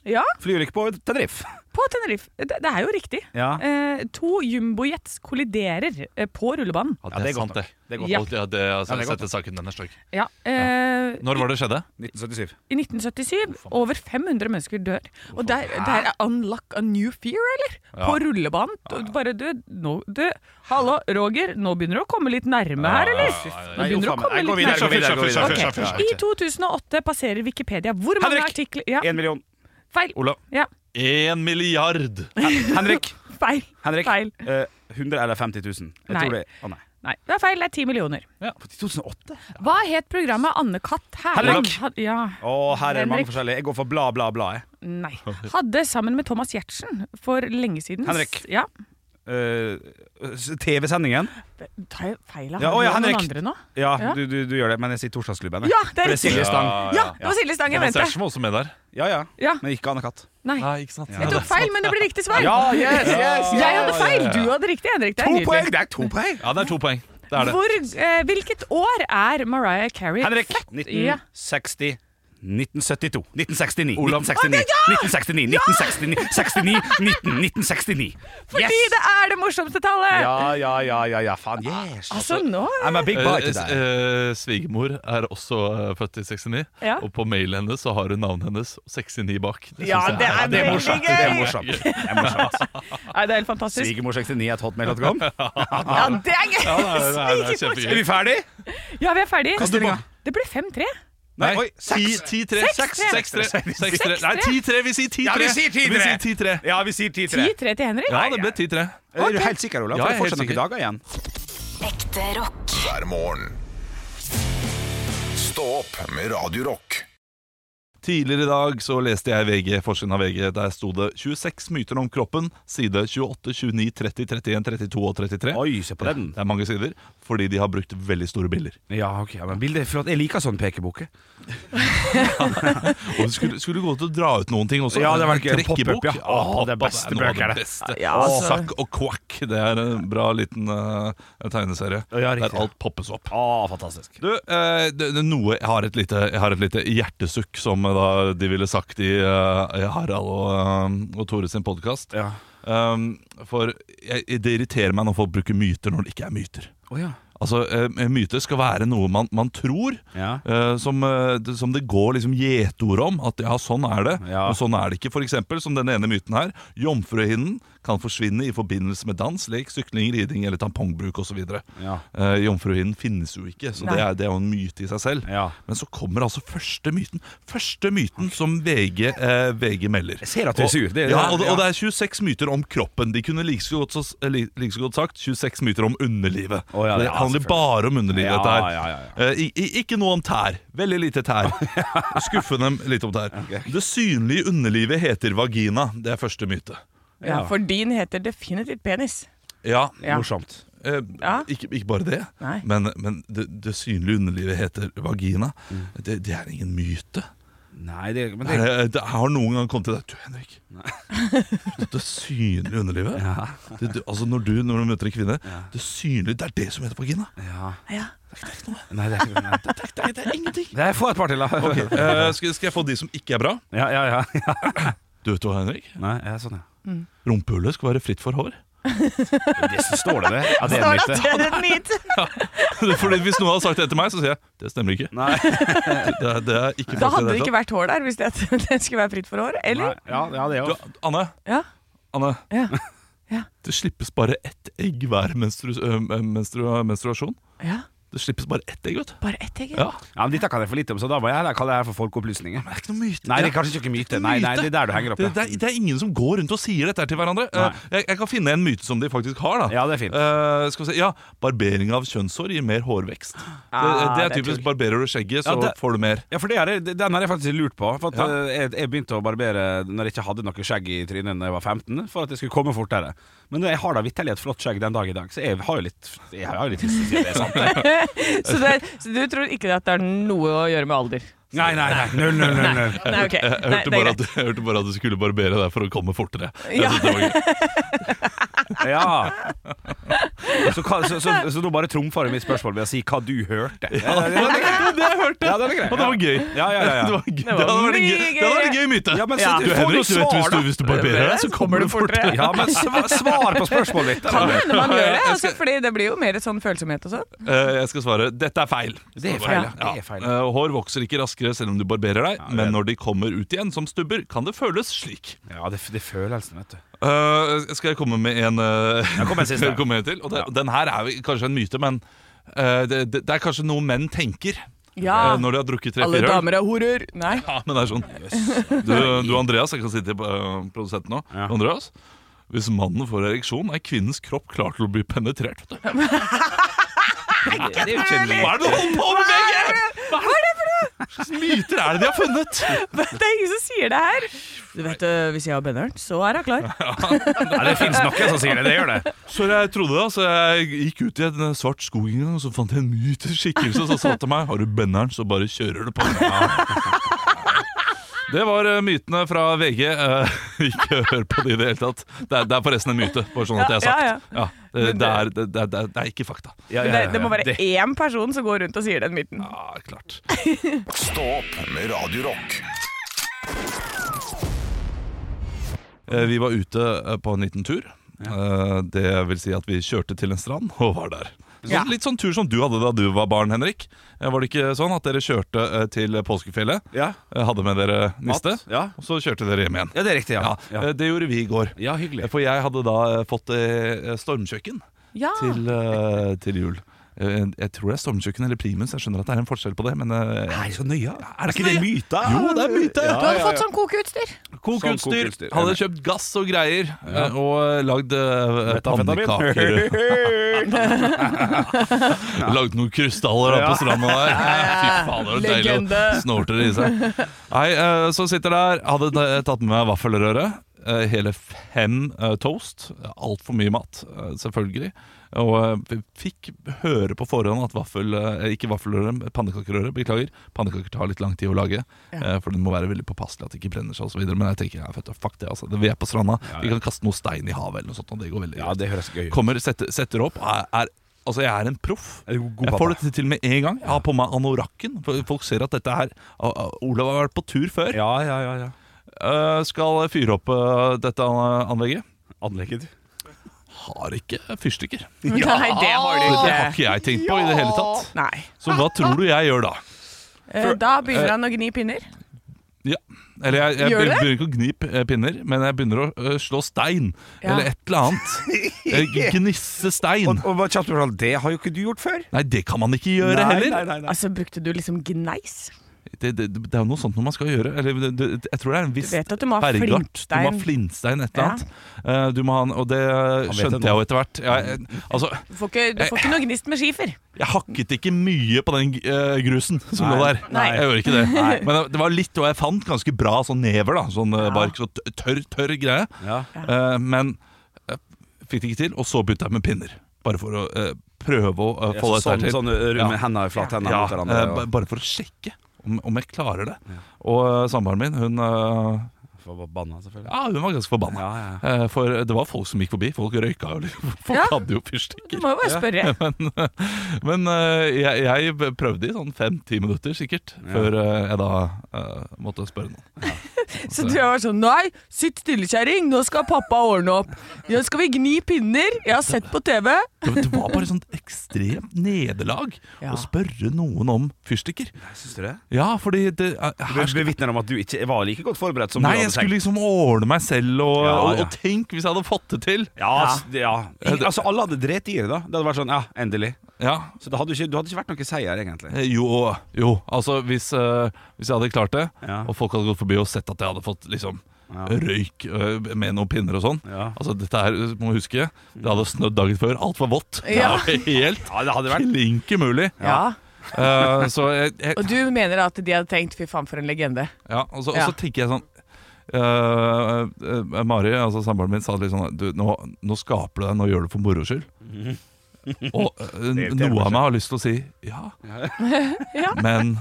Ja,
Flyulykke på Tenerife.
på Tenerife. Det, det er jo riktig.
Ja.
Eh, to jumbojets kolliderer eh, på rullebanen.
Ja,
Ja, det er godt nok. Det er godt
Ja.
Alt- Ja, det, altså,
Ja, det er
jeg
godt
setter saken den er stygg.
Ja. Eh,
Når var det skjedde?
1977.
I 1977 over 500 mennesker dør. Og der, der er unlock a new fear, eller? På rullebanen. Du- Bare du, nå du Hallo, Roger, nå begynner du å komme litt nærme her, eller? Nå begynner du å komme litt nærme.
videre, gå videre, gå videre,
Ok. I 2008 passerer Wikipedia hvor mange
Henrik!
artikler Ja,
Én million.
feil.
Olav.
Ja,
Én milliard!
Henrik.
feil.
Henrik.
Feil.
Eh, 100 eller 50 000. Jeg
Nei.
tror det Å, nei.
Nei, det er feil. Det er ti millioner.
Ja, på 2008?
Hva het programmet Anne-Katt Herland
Henrik.
had- ja,
Å, her er det mange
Henrik.
forskjellige. Jeg går for bla, bla, bla. jeg.
nei, hadde sammen med Thomas Giertsen for lenge siden?
Henrik.
Ja.
Eh, TV-sendingen.
Tar jeg feil av
Ja, å, ja,
noen
Henrik.
andre nå?
Ja,
Ja.
Du, du, du gjør det, men jeg sier Torsdagsklubben. jeg.
Ja, det er
For
riktig.
Silje Stang.
Ja, det var Silje Stang jeg
Thomas
mente.
Giertsen var også med der.
Ja, ja.
Ja.
Men ikke Anne-Katt.
Nei,
Nei, ikke sant?
jeg tok feil, men det ble riktig svar.
Ja, yes, yes, yes.
Jeg hadde feil, du hadde riktig, Henrik. Det er
To
nydelig.
poeng! Det er to poeng!
Ja, det er to poeng. Det er det.
Hvor, eh, hvilket år er Mariah Carey
Henrik,
født? Ja.
1960 1972, 1969,
Olav.
1969, 1969, 1969, 69, 19, 1969.
Fordi det er det morsomste tallet!
Ja, ja, ja, ja, ja, faen, yes.
Altså, nå
I'm a big boy
Eh,
today.
eh, Svigermor er også eh, født i 69,
Ja.
og på mailen hennes så har hun navnet hennes og 69 bak. Det
Ja,
synes jeg
det er
eh, sånn, Det er
veldig
morsomt.
gøy.
Det er morsomt. Det er morsomt.
Nei, det er helt fantastisk.
Svigermor 69 er et hotmail.com.
Ja, det er gøy!
Ja, det er, det er, det er
Er
kjempegøy.
vi ferdig?
Ja, vi er ferdig.
Kaster på.
Det ble 5-3.
Nei, oi,
Ti-
seks.
10-3.
Seks, tre.
6-3. Nei, 10-3. Vi sier 10-3.
Ja, vi sier 10-3.
Vi sier 10-3.
Ja, vi sier 10-3.
10-3 til Henrik.
Ja, det ble 10-3.
Er du helt sikker, Olav?
Ja,
For
jeg
det
er
er
helt
fortsatt noen
sikker.
dager igjen.
Ekte rock.
hver morgen. Stå opp med Radio Rock.
Tidligere i dag så leste jeg VG, forsiden av VG. Der sto det 26 myter om kroppen, side 28, 29, 30, 31, 32 og 33.
Oi, se på den.
Det er mange sider, fordi de har brukt veldig store bilder.
Ja, ok, ja, men bildet er flott. Jeg liker sånn pekeboke.
Og det skulle, skulle gå til å dra ut noen ting også.
Ja, det var gøy.
Trekkebok.
Pop-up, ja. Å, det er beste
noe av
bøker,
det
det.
beste.
Ja, altså.
Sakk og Quack. Det er en bra liten eh, tegneserie
Ja, riktig,
der
ja.
alt poppes opp.
Å, fantastisk.
Du, eh, det, det, er noe, jeg, har et lite, jeg har et lite hjertesukk, som eh, da de ville sagt i eh, Harald og, eh, og Tore sin podkast.
Ja.
Ehm, for jeg, det irriterer meg når folk bruker myter når det ikke er myter.
Å ja.
Altså, eh, Myter skal være noe man, man tror,
Ja.
eh, som, eh, det- som det går liksom gjetord om. At ja, sånn er det,
Ja.
og sånn er det ikke. For eksempel, som den ene myten her. Jomfruhinnen kan forsvinne i forbindelse med dans, lek, sykling, riding eller tampongbruk osv.
Ja.
Eh, jomfruhinnen finnes jo ikke, så det
Nei.
er, det er jo en myte i seg selv.
Ja.
Men så kommer altså første myten. Første myten som VG, eh, VG melder.
Jeg ser at du er
Og-
sur. Det-
ja, og,
ja.
og det er 26 myter om kroppen. De kunne like så godt, så- li- like så godt sagt 26 myter om underlivet.
Å, ja,
det
ja,
handler
selvfølgelig.
bare om underlivet,
Ja,
dette her.
ja, ja,
Eh, i, i, ikke noe om tær. Veldig lite
[laughs]
tær. Skuffende litt om tær. Det synlige underlivet heter vagina. Det er første myte.
Ja, for din heter definitivt penis.
Ja,
Ja.
Morsomt.
Eh,
Ja.
ikke, ikke bare det,
Nei.
men, men det, det synlige underlivet heter vagina.
Mm.
Det, det er ingen myte.
Nei, det, men
Det,
det,
er- det har noen gang kommet til deg Du, Henrik. Det synlige underlivet. Det, det, altså når, du, når du møter en kvinne, det synlige Det er det som heter vagina.
ja.
Ja.
Nei, det er ikke nei. det.
Det, er- det er
[laughs]
ingenting.
Jeg får et par til, da.
Eh, skal, skal jeg få de som ikke er bra?
[laughs] Ja, ja, ja. ja.
Du vet hva, Henrik?
Nei, ja, sånn, ja.
Rumpehullet skal være fritt for hår. [laughs]
Det står det, det. Ja, det
Står
er
det at
nytt.
det er en myte?
Fordi Hvis noen hadde sagt det til meg, så sier jeg det stemmer ikke.
Nei.
Det, er- det er
Da
ikke faktisk
hadde det
hele
ikke vært hår der hvis det, det [laughs] skulle være fritt for hår. Eller?
Nei. Ja, ja, det er jo
tatt. Du, Anne,
Ja.
Anne,
Ja. Ja.
det slippes bare ett egg hver menstru, ø, menstru, menstruasjon.
ja.
Det slippes bare ett egg, vet du.
Bare ett egg.
Ja,
Ja, men Dette kan jeg for lite om, så da må jeg heller kalle det her for folkeopplysninger.
det er ikke noe myte.
Nei, det er kanskje ikke myte. Nei, nei, det er der du henger opp. Ja.
Det, det, er, det er ingen som går rundt og sier dette her til hverandre.
Nei.
Eh, Jeg, jeg kan finne en myte som de faktisk har. da
Ja, det er fint.
Eh, skal vi se, ja, Barbering av kjønnshår gir mer hårvekst.
Ah,
det, det
det
er
er
typisk
tull.
barberer du skjegget, så
Ja, det-
får du mer.
Ja, for det er, det- Den har jeg faktisk lurt på. For at
Ja.
eh, jeg, jeg begynte å barbere når jeg ikke hadde noe skjegg i trynet da jeg var 15, for at jeg skulle komme fortere. Men jeg har da vitterlig et flott skjegg den dag i dag, så jeg har jo litt Jeg har jo litt lyst til å si at det er sant. det.
[laughs] Så, det, så du tror ikke at det har noe å gjøre med alder?
[laughs] Nei, nei, nei. Null, null, null. null.
Nei, ok.
Eh,
Nei,
Jeg, hørte
det er
bare
greit.
at, jeg hørte bare at du skulle barbere deg for å komme fortere. Jeg
Ja.
[laughs]
synes det var gøy.
Ja. [laughs] Så, hva- så, så, så nå bare trumfer du mitt spørsmål ved å si hva du hørte. Ja, det, det, jeg hørte. Ja, den er grei.
Og det var gøy.
Ja, ja, ja, ja.
Det, var gøy.
var
det hadde vært en
mye
gøy, det hadde vært en
gøyere.
gøy myte.
Ja, men så
Ja.
Du, Henrik, du vet, hvis, du,
svar,
hvis du barberer deg, så kommer du fortere.
Ja, men sva- svar på spørsmålet ditt.
Kan hende
[laughs]
man gjør det,
Jeg
altså, fordi det blir jo mer sånn følsomhet og sånn.
Eh, Jeg skal svare dette er feil.
Det er
Skal
feil,
jeg
ja.
bare-
Det er feil.
Eh, Hår vokser ikke raskere selv om du barberer deg,
det er-
men når de kommer ut igjen som stubber, kan det føles slik.
Ja, det, det er følelsen, vet du.
Eh, skal jeg komme med en, eh,
kom med en
[laughs]
siste.
komme med en til? Og det,
Ja.
Den her er jo kanskje en myte, men eh, det, det, det er kanskje noe menn tenker
Ja.
eh, når de har drukket
Alle
tre-fire øl.
damer er horer. Nei. [laughs]
Ja, men det er sånn. Du, du Andreas, jeg kan si til eh, produsenten nå.
Ja.
Andreas, [laughs] hvis mannen får ereksjon, er kvinnens kropp klar til å bli penetrert. Vet du.
Det er jo ikke en lek.
Hva er det du holder på med, VG?! Hva er det for noe?! Hva slags myter er det de har funnet?
Det er ingen som sier det her. Du vet, øh, Hvis jeg har bønneren, så er hun
[laughs]
klar.
Nei, det fins noen som sier det. Det gjør det.
Så jeg trodde det, så jeg gikk ut i en svart skog en gang, og så fant jeg en mytisk skikkelse som sa til meg Har du benneren, så bare kjører du på. Det var eh, mytene fra VG. Eh, [laughs] Ikke hør på de i det hele tatt. Det er, det er forresten en myte, bare sånn at det er
Ja, ja,
sagt. Ja, det, det, er, det, det, er- det er ikke fakta.
Ja,
Men
ja,
det,
ja, ja.
det må være
Det-
én person som går rundt og sier den myten.
Ja, klart.
Stå opp med Radio Rock.
Eh, Vi var ute eh, på en liten tur. Eh, Det vil si at vi kjørte til en strand og var der. Så
Ja.
Litt sånn tur som du hadde da du var barn, Henrik. Eh, Var det ikke sånn at dere kjørte eh, til påskefjellet?
Ja.
Eh, Hadde med dere
Mat,
niste,
ja.
og så kjørte dere hjem igjen.
Ja, det er riktig, ja.
Ja, eh, Det gjorde vi i går.
Ja, hyggelig.
Eh, For jeg hadde da eh, fått eh, stormkjøkken
Ja.
til, eh, til jul. Eh, Jeg tror det er stormkjøkken eller primus. Jeg skjønner at det er en forskjell på det, men eh,
det så nøye? Er
ikke det
myte?
Jo, det er myte!
Du hadde fått sånn
[laughs]
kokeutstyr.
Sånn
Kokeutstyr.
kokeutstyr,
Hadde
enig.
kjøpt gass og greier, eh, og lagd eh, pannekaker.
[laughs]
Lagd noen krystaller da på stranda der. Fy faen, det var deilig å
Legende.
snorte det i seg. Nei, eh, så sitter der. Hadde ta- tatt med meg vaffelrøre. eh, Hele fem eh, toast. Altfor mye mat, eh, selvfølgelig. Og eh, vi fikk høre på forhånd at vaffel eh, Ikke vaffelrøre, men pannekakerøre. Beklager. Pannekaker tar litt lang tid å lage, eh, for den må være veldig påpasselig at det ikke brenner seg osv. Men jeg tenker ja, vet du, fuck det, altså. Vi er på stranda. Vi kan kaste noe stein i havet eller noe sånt, og det går veldig
Ja,
greit.
det høres gøy ut.
Kommer, setter, setter opp er, er, Altså jeg er en proff
Er du god
Jeg får
pappa?
det til med en gang Jeg har på meg anorakken For Folk ser at dette her Å, å, Olav har vært på tur før
Ja, ja, ja. ja.
Eh, Skal fyre opp eh, dette an- anlegget
Anlegget.
Har ikke fyrstykker
[laughs] Nei, det har du
Det har
ikke.
ikke jeg tenkt på i det hele tatt
Nei.
Så hva tror du jeg gjør da?
Eh, Da begynner han å gni pinner.
Ja. Eller jeg,
Gjør
jeg
du det?
begynner ikke å gni p- eh, pinner, men jeg begynner å eh, slå stein.
Ja.
Eller et eller
[laughs]
annet. Eh, Gnisse stein.
Og, og bare kjapt spørsmål, det har jo ikke du gjort før.
Nei, det kan man ikke gjøre heller.
nei, nei.
Altså, Brukte du liksom gneis?
det, det, det er jo noe sånt når man skal gjøre eller, det, det, Jeg tror det er en viss
Du vet at du må ha
bergart. Du må ha
flintstein.
flintstein, et
Ja.
eller annet. Eh, Du må ha en, og det
vet det
skjønte
nå.
jeg jo etter hvert. Jeg, jeg- altså,
Du får ikke, du får ikke noe gnist med skifer.
jeg hakket ikke mye på den eh, grusen som
Nei.
lå der.
Nei.
Jeg gjorde ikke det. Men det- det var litt, og jeg fant ganske bra sånn never. da Sånn eh, bark, så t- tørr, tørr greie.
Ja.
Eh, Men jeg fikk det ikke til, og så begynte jeg med pinner. Bare for å eh, prøve å eh, få dette her
sånn, sånn
til.
uh,
Ja.
med hendene i flate hendene
Ja,
mot hverandre.
eh, ba-
og-
bare for å sjekke om, om jeg klarer det. Og eh, samboeren min, hun, eh,
For Banna, selvfølgelig.
ja, hun var ganske forbanna.
Ja, ja.
Eh, For det var folk som gikk forbi. Folk røyka jo, [laughs] folk
Ja.
hadde jo
Du
fyrstikker.
må jo bare spørre.
Men, [laughs] men eh, jeg, jeg prøvde i sånn fem-ti minutter sikkert, før eh, jeg da eh, måtte spørre noen.
Så tror jeg var sånn Nei, sitt stille, kjerring. Nå skal pappa ordne opp. Nå skal vi gni pinner. Jeg har sett på TV.
Det det var bare sånn ekstremt nederlag
Ja.
å spørre noen om fyrstikker.
Syns du det?
Ja, fordi det, eh,
Du
her skal
bevitner om at du ikke var like godt forberedt som
Nei,
du
jeg
hadde
skulle liksom ordne meg selv, og,
Ja,
og,
ja.
og tenk hvis jeg hadde fått det til!
Ja, s- det- ja. Ingen- Altså, alle hadde drept i det, da. Det hadde vært sånn, ja, endelig.
Ja,
Så det hadde ikke, du hadde ikke vært noen seier, egentlig.
Eh, Jo, jo. altså hvis, eh, hvis jeg hadde klart det,
Ja.
og folk hadde gått forbi og sett at jeg hadde fått liksom
Ja.
røyk eh, med noen pinner og sånn
Ja.
Altså Dette her eh, må du huske, det hadde snødd dagen før. Alt var vått.
[laughs] Ja.
Det var helt
Ja, det hadde [laughs] vært
klink umulig.
Ja.
Eh, så jeg, jeg,
Og du mener at de hadde tenkt 'fy faen, for en legende'.
ja, og, så, og
Ja.
så tenker jeg sånn eh, eh, Mari, altså samboeren min, sa litt sånn du, nå, nå skaper du deg, nå gjør du det for moro
[laughs]
skyld. Og eh,
Det irriterer meg
noe av meg har lyst til å si ja,
[laughs] Ja.
Men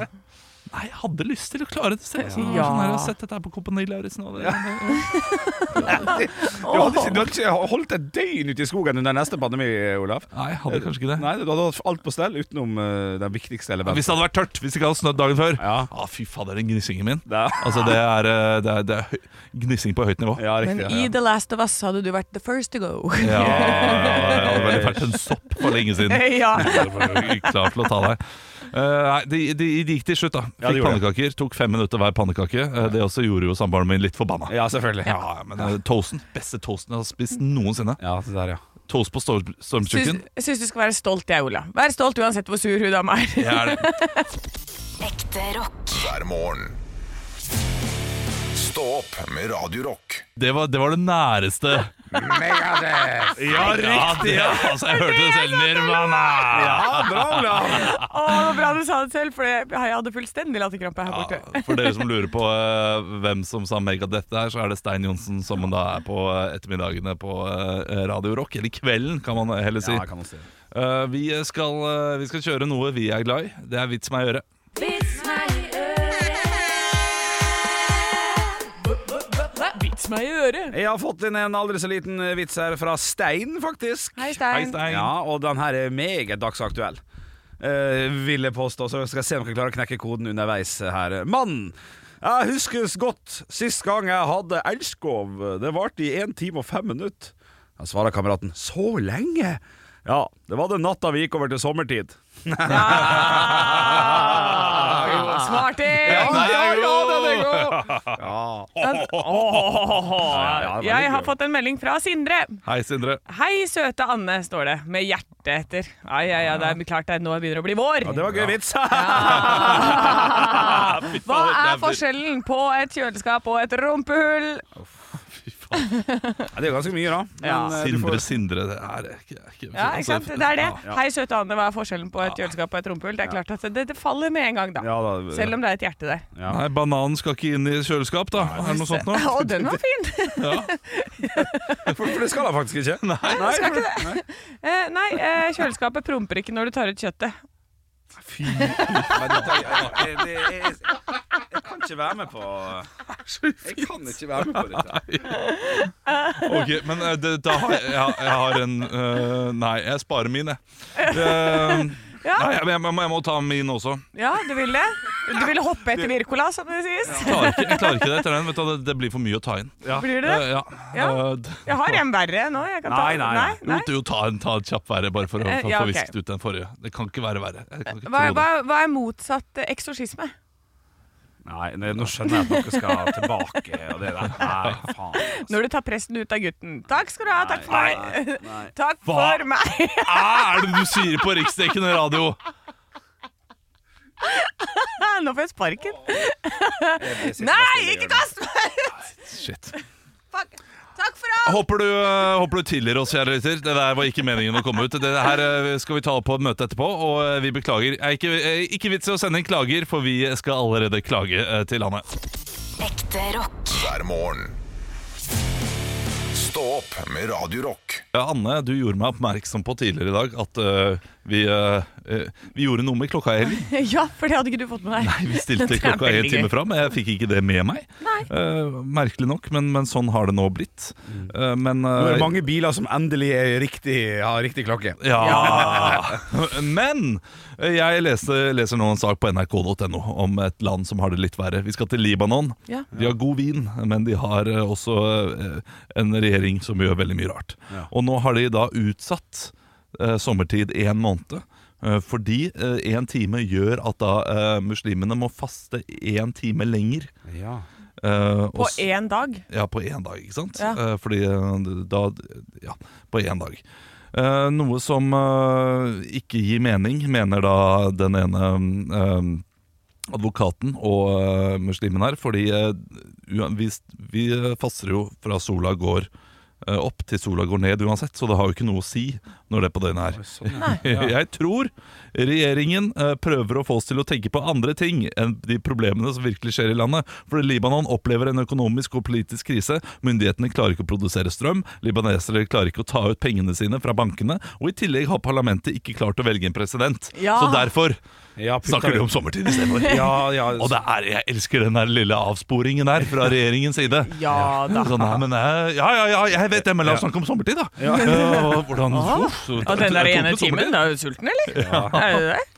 Nei, jeg hadde lyst til å klare det selv. Så det var
Ja.
sånn her, jeg har sett dette her på Kompani Lauritzen. og det-
Du hadde ikke, du hadde ikke holdt et døgn ute i skogen under neste pandemi, Olaf.
Nei, jeg hadde kanskje ikke det.
Nei, du hadde hatt alt på stell utenom eh, den viktigste
Hvis
elementet.
det hadde vært tørt, hvis det ikke hadde snødd dagen før.
Ja.
Ah, fy fader, den gnissingen min.
Ja.
Altså, det er, eh, det er, det er høy, gnissing på høyt nivå.
Ja,
Men
riktig.
i The Last of Us hadde du vært the first to go.
Ja, ja, ja, det hadde vært en sopp for lenge siden.
[laughs] Ja.
Klar til å ta deg. Eh, nei, det de, de gikk til slutt, da. Fikk
Ja, det gjorde
pannekaker. Tok fem minutter hver pannekake. Eh, det også gjorde jo samboeren min litt forbanna.
ja, selvfølgelig.
Ja, ja, men eh, toasten, beste toasten jeg har spist noensinne.
Ja, det der, ja.
Toast på storm-
Syns,
stormkjøkken.
jeg syns du skal være stolt, jeg, Ola. Vær stolt uansett hvor sur hun dama er. [laughs]
Jeg er det.
Ekte rock.
hver morgen. Stå opp med Radio Rock.
Det var det, var det næreste. Ja, riktig! Ja. Altså, jeg hørte det selv. Nirvana! Ja,
Bra, Olav!
Å, det var bra du sa det selv, for jeg jeg hadde fullstendig latterkrampe her borte.
for dere som lurer på eh, hvem som sa Megadeth der, så er det Stein Johnsen som da er på eh, ettermiddagene på eh, Radio Rock. Eller kvelden, kan man heller si.
Ja, kan man si.
Eh, vi, skal, eh, vi skal kjøre noe vi er glad i. Det er vits meg i øret.
Vits meg i øret.
Jeg har fått inn en aldri så liten eh, vits her fra Stein, faktisk.
Hei, Stein.
Hei,
[laughs]
Stein.
Ja, og den her er meget dagsaktuell. Eh, vil jeg påstå, så skal jeg se om jeg klarer å knekke koden underveis her. Mann! Jeg huskes godt sist gang jeg hadde elskov. Det varte i 1 time og 5 minutter. Da svarer kameraten 'så lenge'? Ja, det var den natta vi gikk over til sommertid.
Smarting!
ja, ja, den er god! Ja. ja, veldig
Jeg har
gøy.
fått en melding fra Sindre.
Hei, Sindre.
Hei, søte Anne, står det, med hjertet etter. Ai, ai, ai, det er klart det er nå det begynner å bli vår.
Ja, det var gøy vits. [laughs]
[laughs] Hva er forskjellen på et kjøleskap og et rumpehull?
Ja, det er jo ganske mye, da.
Ja.
Men, eh, du
Sindre,
får-
Sindre. Det er ikke, ikke, Altså,
Ja, ikke sant? Det er det.
Ja.
Hei, søte Anne, hva er forskjellen på et kjøleskap og et rumpehull? Det er klart at det, det faller med en gang, da.
Ja, da-
Selv om det er et hjerte der.
Ja.
Nei, bananen skal ikke inn i kjøleskap, da. Er det noe sånt nå?
[laughs] Å, den var fin!
[laughs] For, for det skal han faktisk ikke. Nei, for- Nei.
Eh, nei, eh, kjøleskapet promper ikke når du tar ut kjøttet.
Fy men dette- jeg- jeg- det- Jeg jeg kan ikke være med på Jeg kan ikke være med på dette.
Ok, men eh, det, da har jeg, jeg, jeg har en eh, Nei, jeg sparer min, jeg. Eh,
Ja.
Nei, jeg, jeg, må, jeg må ta min også.
Ja, du vil det? Du vil hoppe etter Virkola, som det sies?
Jeg klarer ikke, jeg klarer ikke det etter den. Vet du, det, det blir for mye å ta inn.
Blir det?
Eh, ja.
Ja.
Eh, d-
Jeg har en verre nå. Jeg kan ta
Nei, nei, nei.
Jo, jo, ta en, ta en kjapp verre, bare for å
Eh,
for,
ja,
få
ok.
visket ut den forrige. Det kan ikke være verre. Jeg kan ikke
Hva,
tro
hva,
det.
hva er motsatt eh, eksorsisme?
Nei, nei, nå skjønner jeg at dere skal tilbake og det der. Nei, faen. altså.
Når du tar presten ut av gutten. Takk skal du ha, takk for
Nei,
meg.
nei, nei.
[laughs] Takk
Hva?
for meg. [laughs]
Ah, er det du sier på riksdekkende radio?
Nå får jeg sparken.
Jeg sitter stille
Nei,
i
ikke
hjørnet.
kast meg! [laughs]
Shit.
Fuck. Takk for alt!
Håper du, eh, håper du tilgir oss, kjære lytter. Det der var ikke meningen å komme ut. Det her eh, skal vi ta opp på et møte etterpå, og eh, vi beklager. Eh, Ikke, eh, ikke vits i å sende inn klager, for vi skal allerede klage eh, til Hanne.
Ekte rock.
hver morgen. Stå opp med Radio Rock.
Ja, Anne, du gjorde meg oppmerksom på tidligere i dag at eh, vi, eh, eh, vi gjorde noe med klokka i helgen.
[laughs] Ja, for det hadde ikke du fått med deg.
Nei, vi stilte
[laughs] Det er
klokka en
veldig
time
gøy.
fram. Jeg fikk ikke det med meg.
Nei.
Eh, merkelig nok, men, men sånn har det nå blitt. Eh, men
Mm. Nå er
eh,
det mange biler som endelig er riktig, har riktig klokke.
[laughs]
Ja! [laughs] Men eh, jeg leser, leser nå en sak på nrk.no om et land som har det litt verre. Vi skal til Libanon.
Ja.
De har god vin, men de har eh, også eh, en regjering som gjør veldig mye rart.
Ja.
Og nå har de da utsatt eh, sommertid én måned. eh, Fordi én time gjør at da eh, muslimene må faste én time lenger.
Ja.
eh, og
På
s-
én dag.
ja, på én dag, ikke sant?
Ja.
Eh, Fordi eh, da Ja, på én dag. Eh, noe som eh, ikke gir mening, mener da den ene eh, advokaten og eh, muslimen her. Fordi eh, ua- vi, vi faster jo fra sola går eh, opp til sola går ned uansett, så det har jo ikke noe å si når det er på døgnet her. [laughs] Jeg tror regjeringen eh, prøver å få oss til å tenke på andre ting enn de problemene som virkelig skjer i landet. For Libanon opplever en økonomisk og politisk krise. Myndighetene klarer ikke å produsere strøm. Libanesere klarer ikke å ta ut pengene sine fra bankene. Og i tillegg har parlamentet ikke klart å velge en president.
Ja.
Så derfor
Ja, putta-
snakker de om sommertid istedenfor.
Ja, ja.
Og det er, jeg elsker den der lille avsporingen der fra regjeringens side.
Ja da.
[laughs] Sånn, nei, men jeg, ja, ja, ja, jeg vet det, men la oss snakke om sommertid, da. Eh, og hvordan, uff, så-
Og den der
jeg tok
ene
med sommertid.
timen, da er du sulten, eller? Er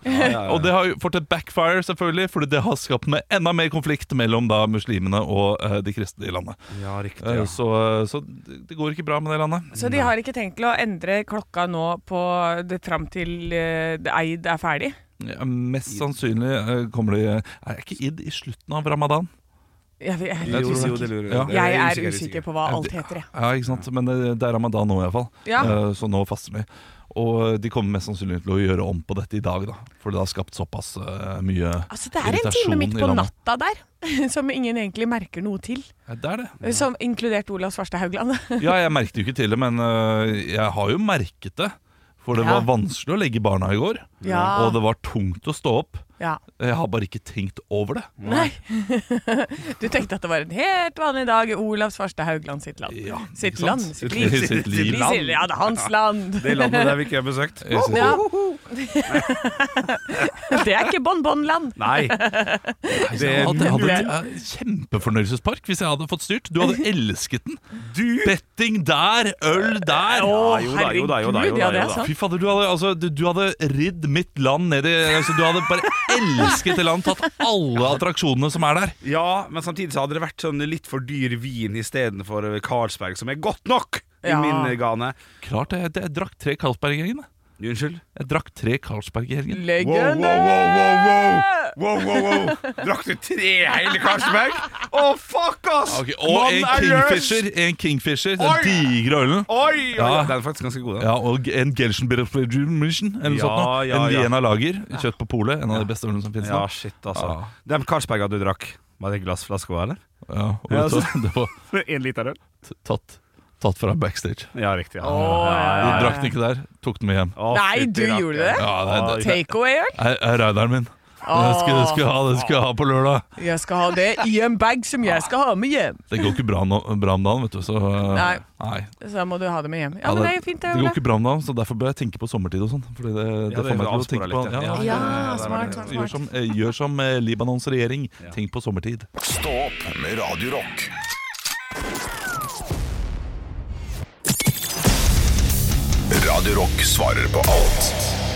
du det?
Og det har jo fått et backfire, selvfølgelig, fordi det har skapt med enda mer konflikt mellom da muslimene og eh, de kristne i landet.
ja, riktig.
Eh,
Ja.
Så, så det går ikke bra med det landet.
Så de har ikke tenkt til å endre klokka nå på det fram til eh, det Eid er ferdig?
Ja, mest sannsynlig eh, kommer de Er ikke id i slutten av ramadan?
Jeg, vet- jeg,
Jo,
tror
jo,
det.
det lurer
Ja.
jeg.
jeg er usikker på hva alt
det-
heter, jeg.
eh, Ja, ikke sant? Men det, det er ramadan nå, i hvert fall.
Ja.
Eh, Så nå faster vi. Og de kommer mest sannsynlig til å gjøre om på dette i dag, da. For det har skapt såpass eh, mye
Altså, det er en time
irritasjon
midt
i
på
landet.
natta der [laughs] som ingen egentlig merker noe til.
Ja, det er det.
Som inkludert Olav Svarstad Haugland. [laughs]
Ja, jeg merket jo ikke til det, men øh, jeg har jo merket det. For det
Ja.
var vanskelig å legge barna i går,
Ja.
og det var tungt å stå opp.
Ja.
Jeg har bare ikke tenkt over det.
Nei. Du tenkte at det var en helt vanlig dag i Olav Svarstad Haugland sitt land.
Ja, ikke
sitt
sant?
land, sitt
Sitt
liv.
liv, [laughs] sitt liv.
sitt- Ja, det er hans land.
Det landet der vi ikke har besøkt.
Jeg synes-
Ja. [laughs] Det er ikke bonbonland. [laughs]
Nei. Det
Jeg hadde, jeg
er
hadde et eh, kjempefornøyelsespark hvis jeg hadde fått styrt. Du
[laughs]
hadde elsket den. Betting der, øl der.
Å,
jo da, jo da, jo da, jo da,
herregud, ja, det
jo
er
da.
sant.
Fy fader, du hadde, altså, du, du hadde ridd mitt land ned i altså, Du hadde bare elsket det landet, tatt alle attraksjonene som er der.
Ja, men samtidig så hadde det vært sånn litt for dyr vin istedenfor Carlsberg, som er godt nok i
Ja.
min gane.
Klart, jeg, jeg drakk tre Carlsberg i helgen. jeg.
Unnskyld?
Jeg drakk tre Carlsberg i helgen.
wow, wow, wow, wow. Drakk du tre hele Carlsberg? Å, fuck, ass!
Ok, og en
Mannen er løs!
Kingfisher, en Kingfisher, den
Oi!
digre ølen.
Oi, oi,
Ja.
Den er faktisk ganske god, da.
Ja, og en Gelsenbirgermission, eller noe
Ja,
sånt. nå.
ja,
en
ja.
Liena Lager, kjøtt på polet. En av de beste ølene som finnes
Ja,
nå.
shit, altså.
Ja.
Den Carlsberga du drakk, var det glassflaska, eller? [laughs]
Ja, og
Ja,
vet du hva? [laughs] det var
Én liter øl?
t- tatt, tatt fra backstage.
Ja, riktig. Ja.
Vi drakk den ikke der, tok den med hjem.
Å,
Nei,
fytti
du
rakkeren.
gjorde det?
Ja, det, det, det
Takeaway-øl?
er, er raideren min. Den skal, den skal jeg ha, den skal jeg ha på lørdag.
Jeg skal ha det i en bag som jeg skal ha med hjem.
Det går ikke bra, nå, bra om dagen, vet du. Så, eh,
Nei.
nei.
Så da må du ha det med hjem. Ja,
Ja,
men det er jo fint, det.
det går
Ole.
ikke bra om dagen, så derfor bør jeg tenke på sommertid og sånn. Fordi det, det,
Ja, det
får meg til å
avsporer
tenke på
litt, ja.
ja,
Ja,
Ja, smart, smart,
Gjør
smart.
som, eh, gjør som eh, Libanons regjering. Tenk på sommertid.
Stå opp med Radio Rock. Radio Rock svarer på alt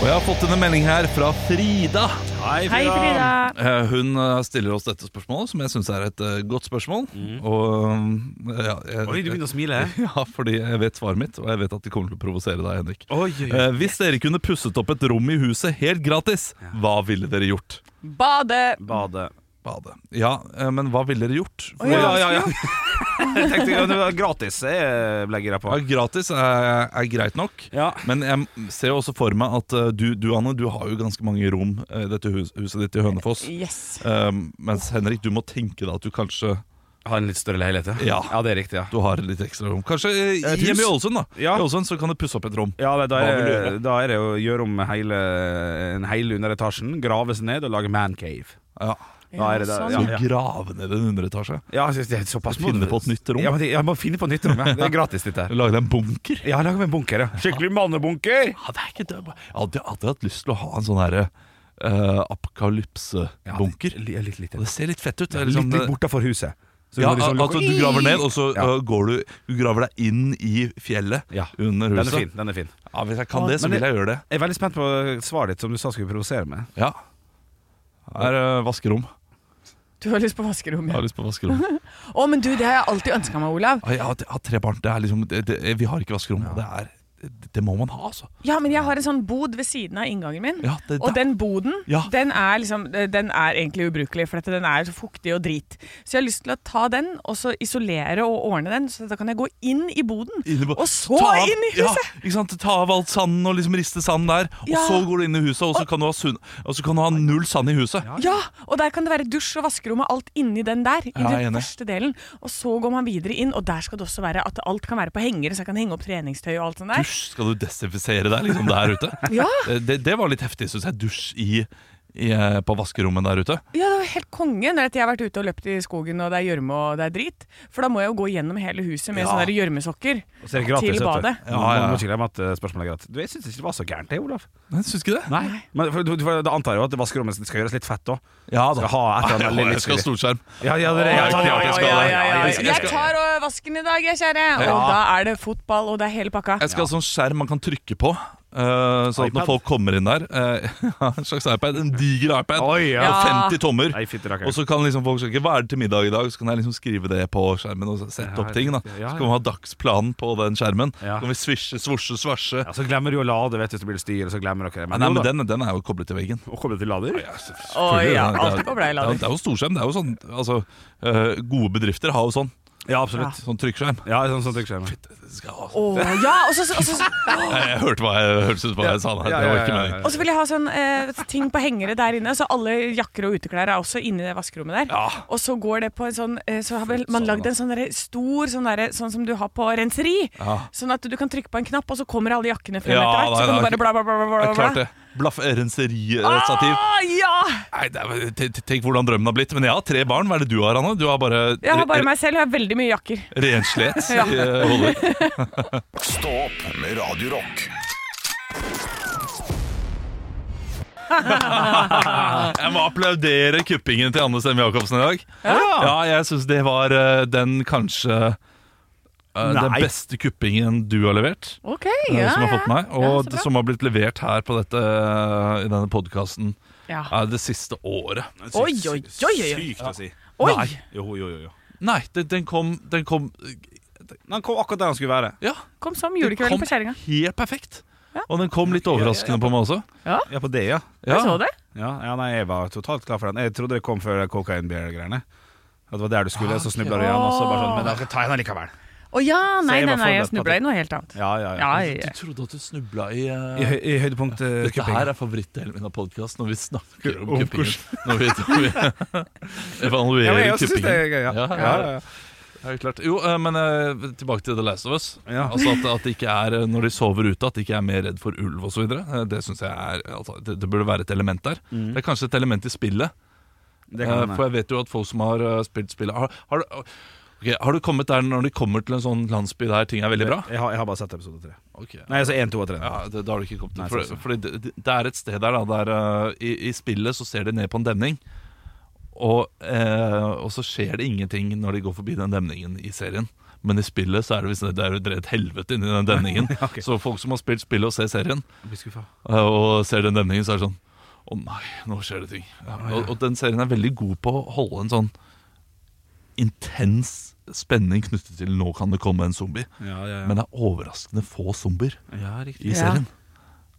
Og jeg har fått en melding her fra Frida.
Hei, Frida.
Eh, Hun eh, stiller oss dette spørsmålet, som jeg syns er et eh, godt spørsmål. Og eh, ja, jeg,
Mm. Oi, du begynner å smile.
[laughs] Ja, fordi jeg vet svaret mitt, og jeg vet at de kommer til å provosere deg, Henrik.
Oi, oi, oi.
Eh, hvis dere kunne pusset opp et rom i huset helt gratis, hva ville dere gjort?
Bade.
Bade.
Bade. Ja, eh, men hva ville dere gjort?
Å, ja.
[laughs] Jeg tenkte ja, det var gratis jeg ble gira på.
Ja, gratis er, er greit nok.
Ja.
Men jeg ser jo også for meg at eh, du, du Anne, du har jo ganske mange rom eh, i dette hus, huset ditt i Hønefoss.
Yes.
Um, mens Henrik, du må tenke deg at du kanskje
Ha en litt større leilighet,
Ja.
det er riktig, ja.
Du har litt ekstra rom. Kanskje eh,
Et hus?
hjemme i Ålesund, da.
Ja.
I Ålesund så kan du pusse opp et rom.
Ja, det, da,
Hva vil
er,
du
det- da er det å gjøre om hele, en hele underetasjen, grave seg ned og lage mancave.
Ja.
Da er det
sånn.
der,
Så
ja, ja.
grave ned en underetasje.
Ja, jeg synes det er såpass
Finne på et nytt rom.
Ja, men det- jeg må finne på et nytt rom. Ja. Det [laughs] er gratis, dette.
Lage deg en bunker.
Ja, lag meg en bunker. Ja. Skikkelig mannebunker!
Ja, det er ikke det. Jeg hadde alltid hatt lyst til å ha en sånn herre apokalypsebunker.
Ja, litt, litt, litt,
Og det ser litt fett ut. Det er
litt,
liksom-
litt bortafor huset. Så
Ja,
du må liksom
altså
lukke-
du graver ned, og så
Ja.
øh, går du, du graver deg inn i fjellet
Ja.
under
Den
huset.
er fin. den er fin
Ja, Hvis jeg kan det, så
Men det-
vil jeg gjøre det.
Jeg er veldig spent på svaret ditt, som du sa skulle provosere meg.
Ja. Her er øh, vaskerom.
Du har lyst på vaskerom,
Jeg
ja.
har lyst på vaskerom.
Å, men du, det har jeg alltid ønska meg, Olav.
Ja, Jeg har, jeg har tre barn. Det er liksom, det, det, vi har ikke vaskerom. og Det, er, det må man ha, altså.
Ja, men jeg har en sånn bod ved siden av inngangen min.
Ja, det,
Og
det,
den boden
Ja.
den, er liksom, den er egentlig ubrukelig, for at den er så fuktig og drit. Så jeg har lyst til å ta den, og så isolere og ordne den, så da kan jeg gå inn i boden.
Inn i bo-
Og så
Ta av-
inn i huset!
Ja, ikke sant? Ta av alt sanden og liksom riste sanden der. Og
Ja.
så går du inn i huset, og så kan du ha, sunn, og så kan du ha null sand i huset.
Ja. og der kan det være dusj og vaskerom og alt inni den der. I
Ja, jeg er
den
enig.
første delen. Og så går man videre inn, og der skal det også være at alt kan være på hengere, så jeg kan henge opp treningstøy og alt sånt der.
Dusj, skal du desinfisere deg liksom der ute?
Ja.
Det, det, det var litt heftig, syns jeg. Dusj i, i, eh, på vaskerommet der ute.
Ja, det var helt konge når at jeg har vært ute og løpt i skogen og det er gjørme og det er drit. For da må jeg jo gå gjennom hele huset med
Ja.
sånne der gjørmesokker
Og så er det gratis,
til
vet du.
badet.
Ja,
Man
ja.
må ikke glemme at eh, spørsmålet er gratis. Du, Jeg syns ikke det var så gærent, det, Olaf.
Nei, Syns ikke det?
Nei. Men for, for, for, da antar jeg jo at vaskerommet skal gjøres litt fett òg.
Ja
Skal ha et eller annet
Ja,
litt
jeg skal ha
stilig.
storskjerm.
Ja, ja, det er
Ja,
ja,
jeg skal-
ja,
jeg skal-
ja, ja, ja,
skal-
Jeg tar og vasken i dag, jeg kjære. Og
Ja.
da er det fotball, og det er hele pakka.
Jeg skal ha sånn skjerm man kan trykke på. eh, sånn at
iPad?
når folk kommer inn der eh, [laughs] ja, En slags iPad, en diger iPad
Oi, ja.
på 50 tommer.
Nei, fytti rakkeren.
Og så kan liksom folk sjekke hva er det til middag i dag, så kan jeg liksom skrive det på skjermen. og sette opp ting da
Ja, ja.
Så kan vi ha dagsplanen på den skjermen.
Ja.
Så kan vi svisje, svosje, svasje.
Ja, så glemmer du å lade, vet du, så blir det styr, og så glemmer dere det.
Nei, men den, den er jo koblet til veggen.
Å komme til lader?
Å ja,
Det er-
alt går bra i
det er-
lader.
Det er jo storskjerm. det er jo sånn altså, eh, Gode bedrifter har jo sånn.
Ja, absolutt.
Sånn trykkskjerm.
Ja, sånn, sånn trykkskjerm.
Å ja! Og så, og så,
Nei, Jeg hørte hva jeg hørtes ut hva jeg sa
sånn.
der.
Ja,
Det
ja,
var
ja,
ikke
ja,
meningen.
og så vil jeg ha sånn eh, ting på hengere der inne, så alle jakker og uteklær er også inni det vaskerommet der.
Ja.
Og så går det på en sånn eh, Så har vel man lagd en sånn derre stor sånn, derre- sånn som du har på renseri.
Ja.
Sånn at du kan trykke på en knapp, og så kommer alle jakkene frem
Ja,
etter hvert.
nei,
Så kan du
nei,
bare bla, bla, bla. bla,
Ja,
bla,
klart
bla.
det. Blaff renseristativ.
Ah, ja!
Nei, det er, t- t- Tenk hvordan drømmen har blitt. Men jeg har tre barn. Hva er det du har, Anne? Du har bare,
Jeg har bare
re-
meg selv, og jeg har veldig mye jakker.
renslighet.
[laughs] Ja.
i, eh, hodet.
Stå opp med Radio Rock.
Jeg må applaudere kuppingen til Anne Stemme Jacobsen i dag. Ja, jeg syns det var eh, den kanskje eh, Den
Nei.
beste kuppingen du har levert.
Ok,
eh,
ja,
som har
ja.
fått meg,
Ja,
og
så bra.
som har blitt levert her på dette, eh, i denne podkasten
Ja.
det siste året.
Oi, oi, oi, oi, oi.
Sykt å si.
Oi!
Nei.
Jo, jo, jo. jo.
Nei, den, den kom, den kom
Den kom akkurat der den skulle være.
Ja,
Kom som
den
julekvelden
kom
på kjerringa.
helt perfekt.
Ja.
Og den kom litt overraskende på meg også.
Ja, på det, ja.
Jeg så det.
ja. Ja, nei, jeg var totalt klar for den. Jeg trodde det kom før Cocaine Bear-greiene. At det var der du skulle, så snubla du igjen, og så bare sånn Men da skal jeg ta en likevel.
Å ja, nei,
jeg
nei,
var
nei,
forberedt
jeg
på
snubla
det.
i noe helt annet.
Ja, ja, ja.
Ja, ja, ja.
Du trodde at du snubla i eh,
I, hø- i høydepunkt eh,
Dette
kupping.
her er favorittdelen min av podkast, når vi snakker om
Om
kuppingen. Når vi, når
[laughs]
vi
Ja, men
evaluerer
jeg også synes det
kuppingen.
er gøy. Ja.
Ja, ja,
Ja, ja, ja.
Ja, klart. Jo, eh, men eh, tilbake til The Last of Us.
Ja.
Altså at, at det ikke er, eh, Når de sover ute, at de ikke er mer redd for ulv osv. Eh, Det synes jeg er altså, det, det burde være et element der. Det er kanskje et element i spillet.
Mm. Det kan
Eh,
hende.
for jeg vet jo at folk som har eh, spilt spillet har, har, du- ok, har du kommet der når de kommer til en sånn landsby der ting er veldig bra?
Jeg har, jeg har bare sett episode tre.
Ok.
Nei, altså én, to og tre.
Ja, det, da har du ikke kommet
Nei,
til
sånn,
for,
sånn.
Fordi det, det- det er et sted der da der, eh, i, I spillet så ser de ned på en demning og, eh, og så skjer det ingenting når de går forbi den demningen i serien Men i spillet så er det, visst- det er jo drevet helvete inni den demningen
[laughs] Ok.
Så folk som har spilt spillet og ser serien
Blir skuffa.
eh, Og ser den demningen så er det sånn Å nei, nå skjer det ting og, og den serien er veldig god på å holde en sånn Intens spenning knyttet til Nå kan det komme en zombie
Ja, ja, ja.
Men det er overraskende få zombier
ja, riktig.
i
Ja.
serien.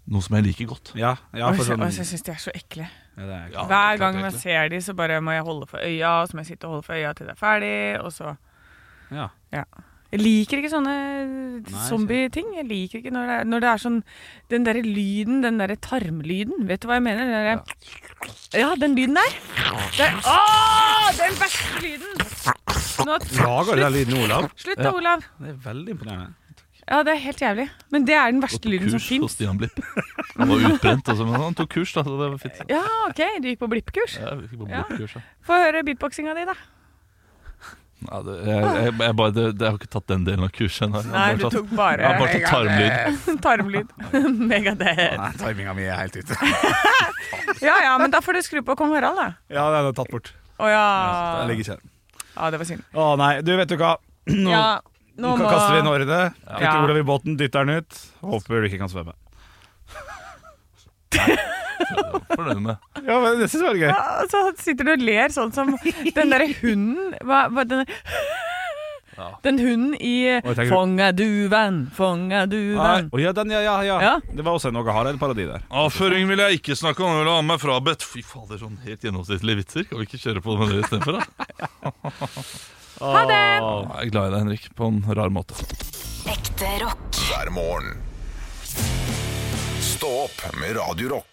Noe som jeg liker godt.
Ja, ja,
Og
for
jeg,
sånn
og jeg syns de er så ekle.
ja, det er,
Ja,
Hver
det er
gang jeg
klart egentlig.
ser de, så bare må jeg holde for øya, og så må jeg sitte og holde for øya til det er ferdig, og så
ja.
Ja. Jeg liker ikke sånne
Nei,
zombie-ting. Jeg liker ikke når det, er, når det er sånn Den derre lyden, den derre tarmlyden. Vet du hva jeg mener? Den derre Ja, den lyden der. Det, å, den verste lyden! Nå,
Lager du den lyden, Olav?
slutt da, Olav.
Det er veldig imponerende.
Ja, det er helt jævlig. Men det er den verste lyden som
kurs hos
fins.
Stian Blipp. Han var utbrent, altså, men han tok kurs, da. Så det var fint.
Ja, OK, du gikk på blippkurs.
Ja, vi fikk bare
Ja.
Blipp-kurs, da.
Få høre beatboxinga di, da.
Nei, det, jeg, jeg, jeg, bare, det, det, jeg har ikke tatt den delen av kurset ennå. Jeg
Nei,
har
du
bare tatt-
tok bare eh.
jeg har bare tatt tarmlyd.
[laughs] Tarmlyd. Megadeth.
Nei, timinga mi er helt [laughs] ute.
Ja ja, men da får du skru på kong Harald, da.
Ja, den er tatt bort.
Å ja.
Den ligger ikke her.
Ja, det var synd.
Å nei, du vet du hva. [clears throat] Nå,
Ja,
nå
nå må
kaster vi en årene. Ikke
Ja.
Olav i båten, dytter den ut. Håper du ikke kan svømme.
Fornøyd med.
Ja, men Det syns jeg var gøy.
Ja, og så sitter du og ler sånn som [laughs] den derre hunden hva, hva, den,
Ja.
den hunden i
Oi, tenker du-
'Fonga duven, fonga duven'.
Å, ja, den, ja, ja, ja.
Ja.
Det var også en Åge Hareide-parodi der.
Avføring vil jeg ikke snakke om. Jeg vil ha meg frabedt. Fy fader, sånn helt gjennomsnittlige vitser. Kan vi ikke kjøre på med det istedenfor, da?
Ha det!
Jeg er glad i deg, Henrik, på en rar måte.
Ekte rock.
hver morgen. Stå opp med Radio Rock.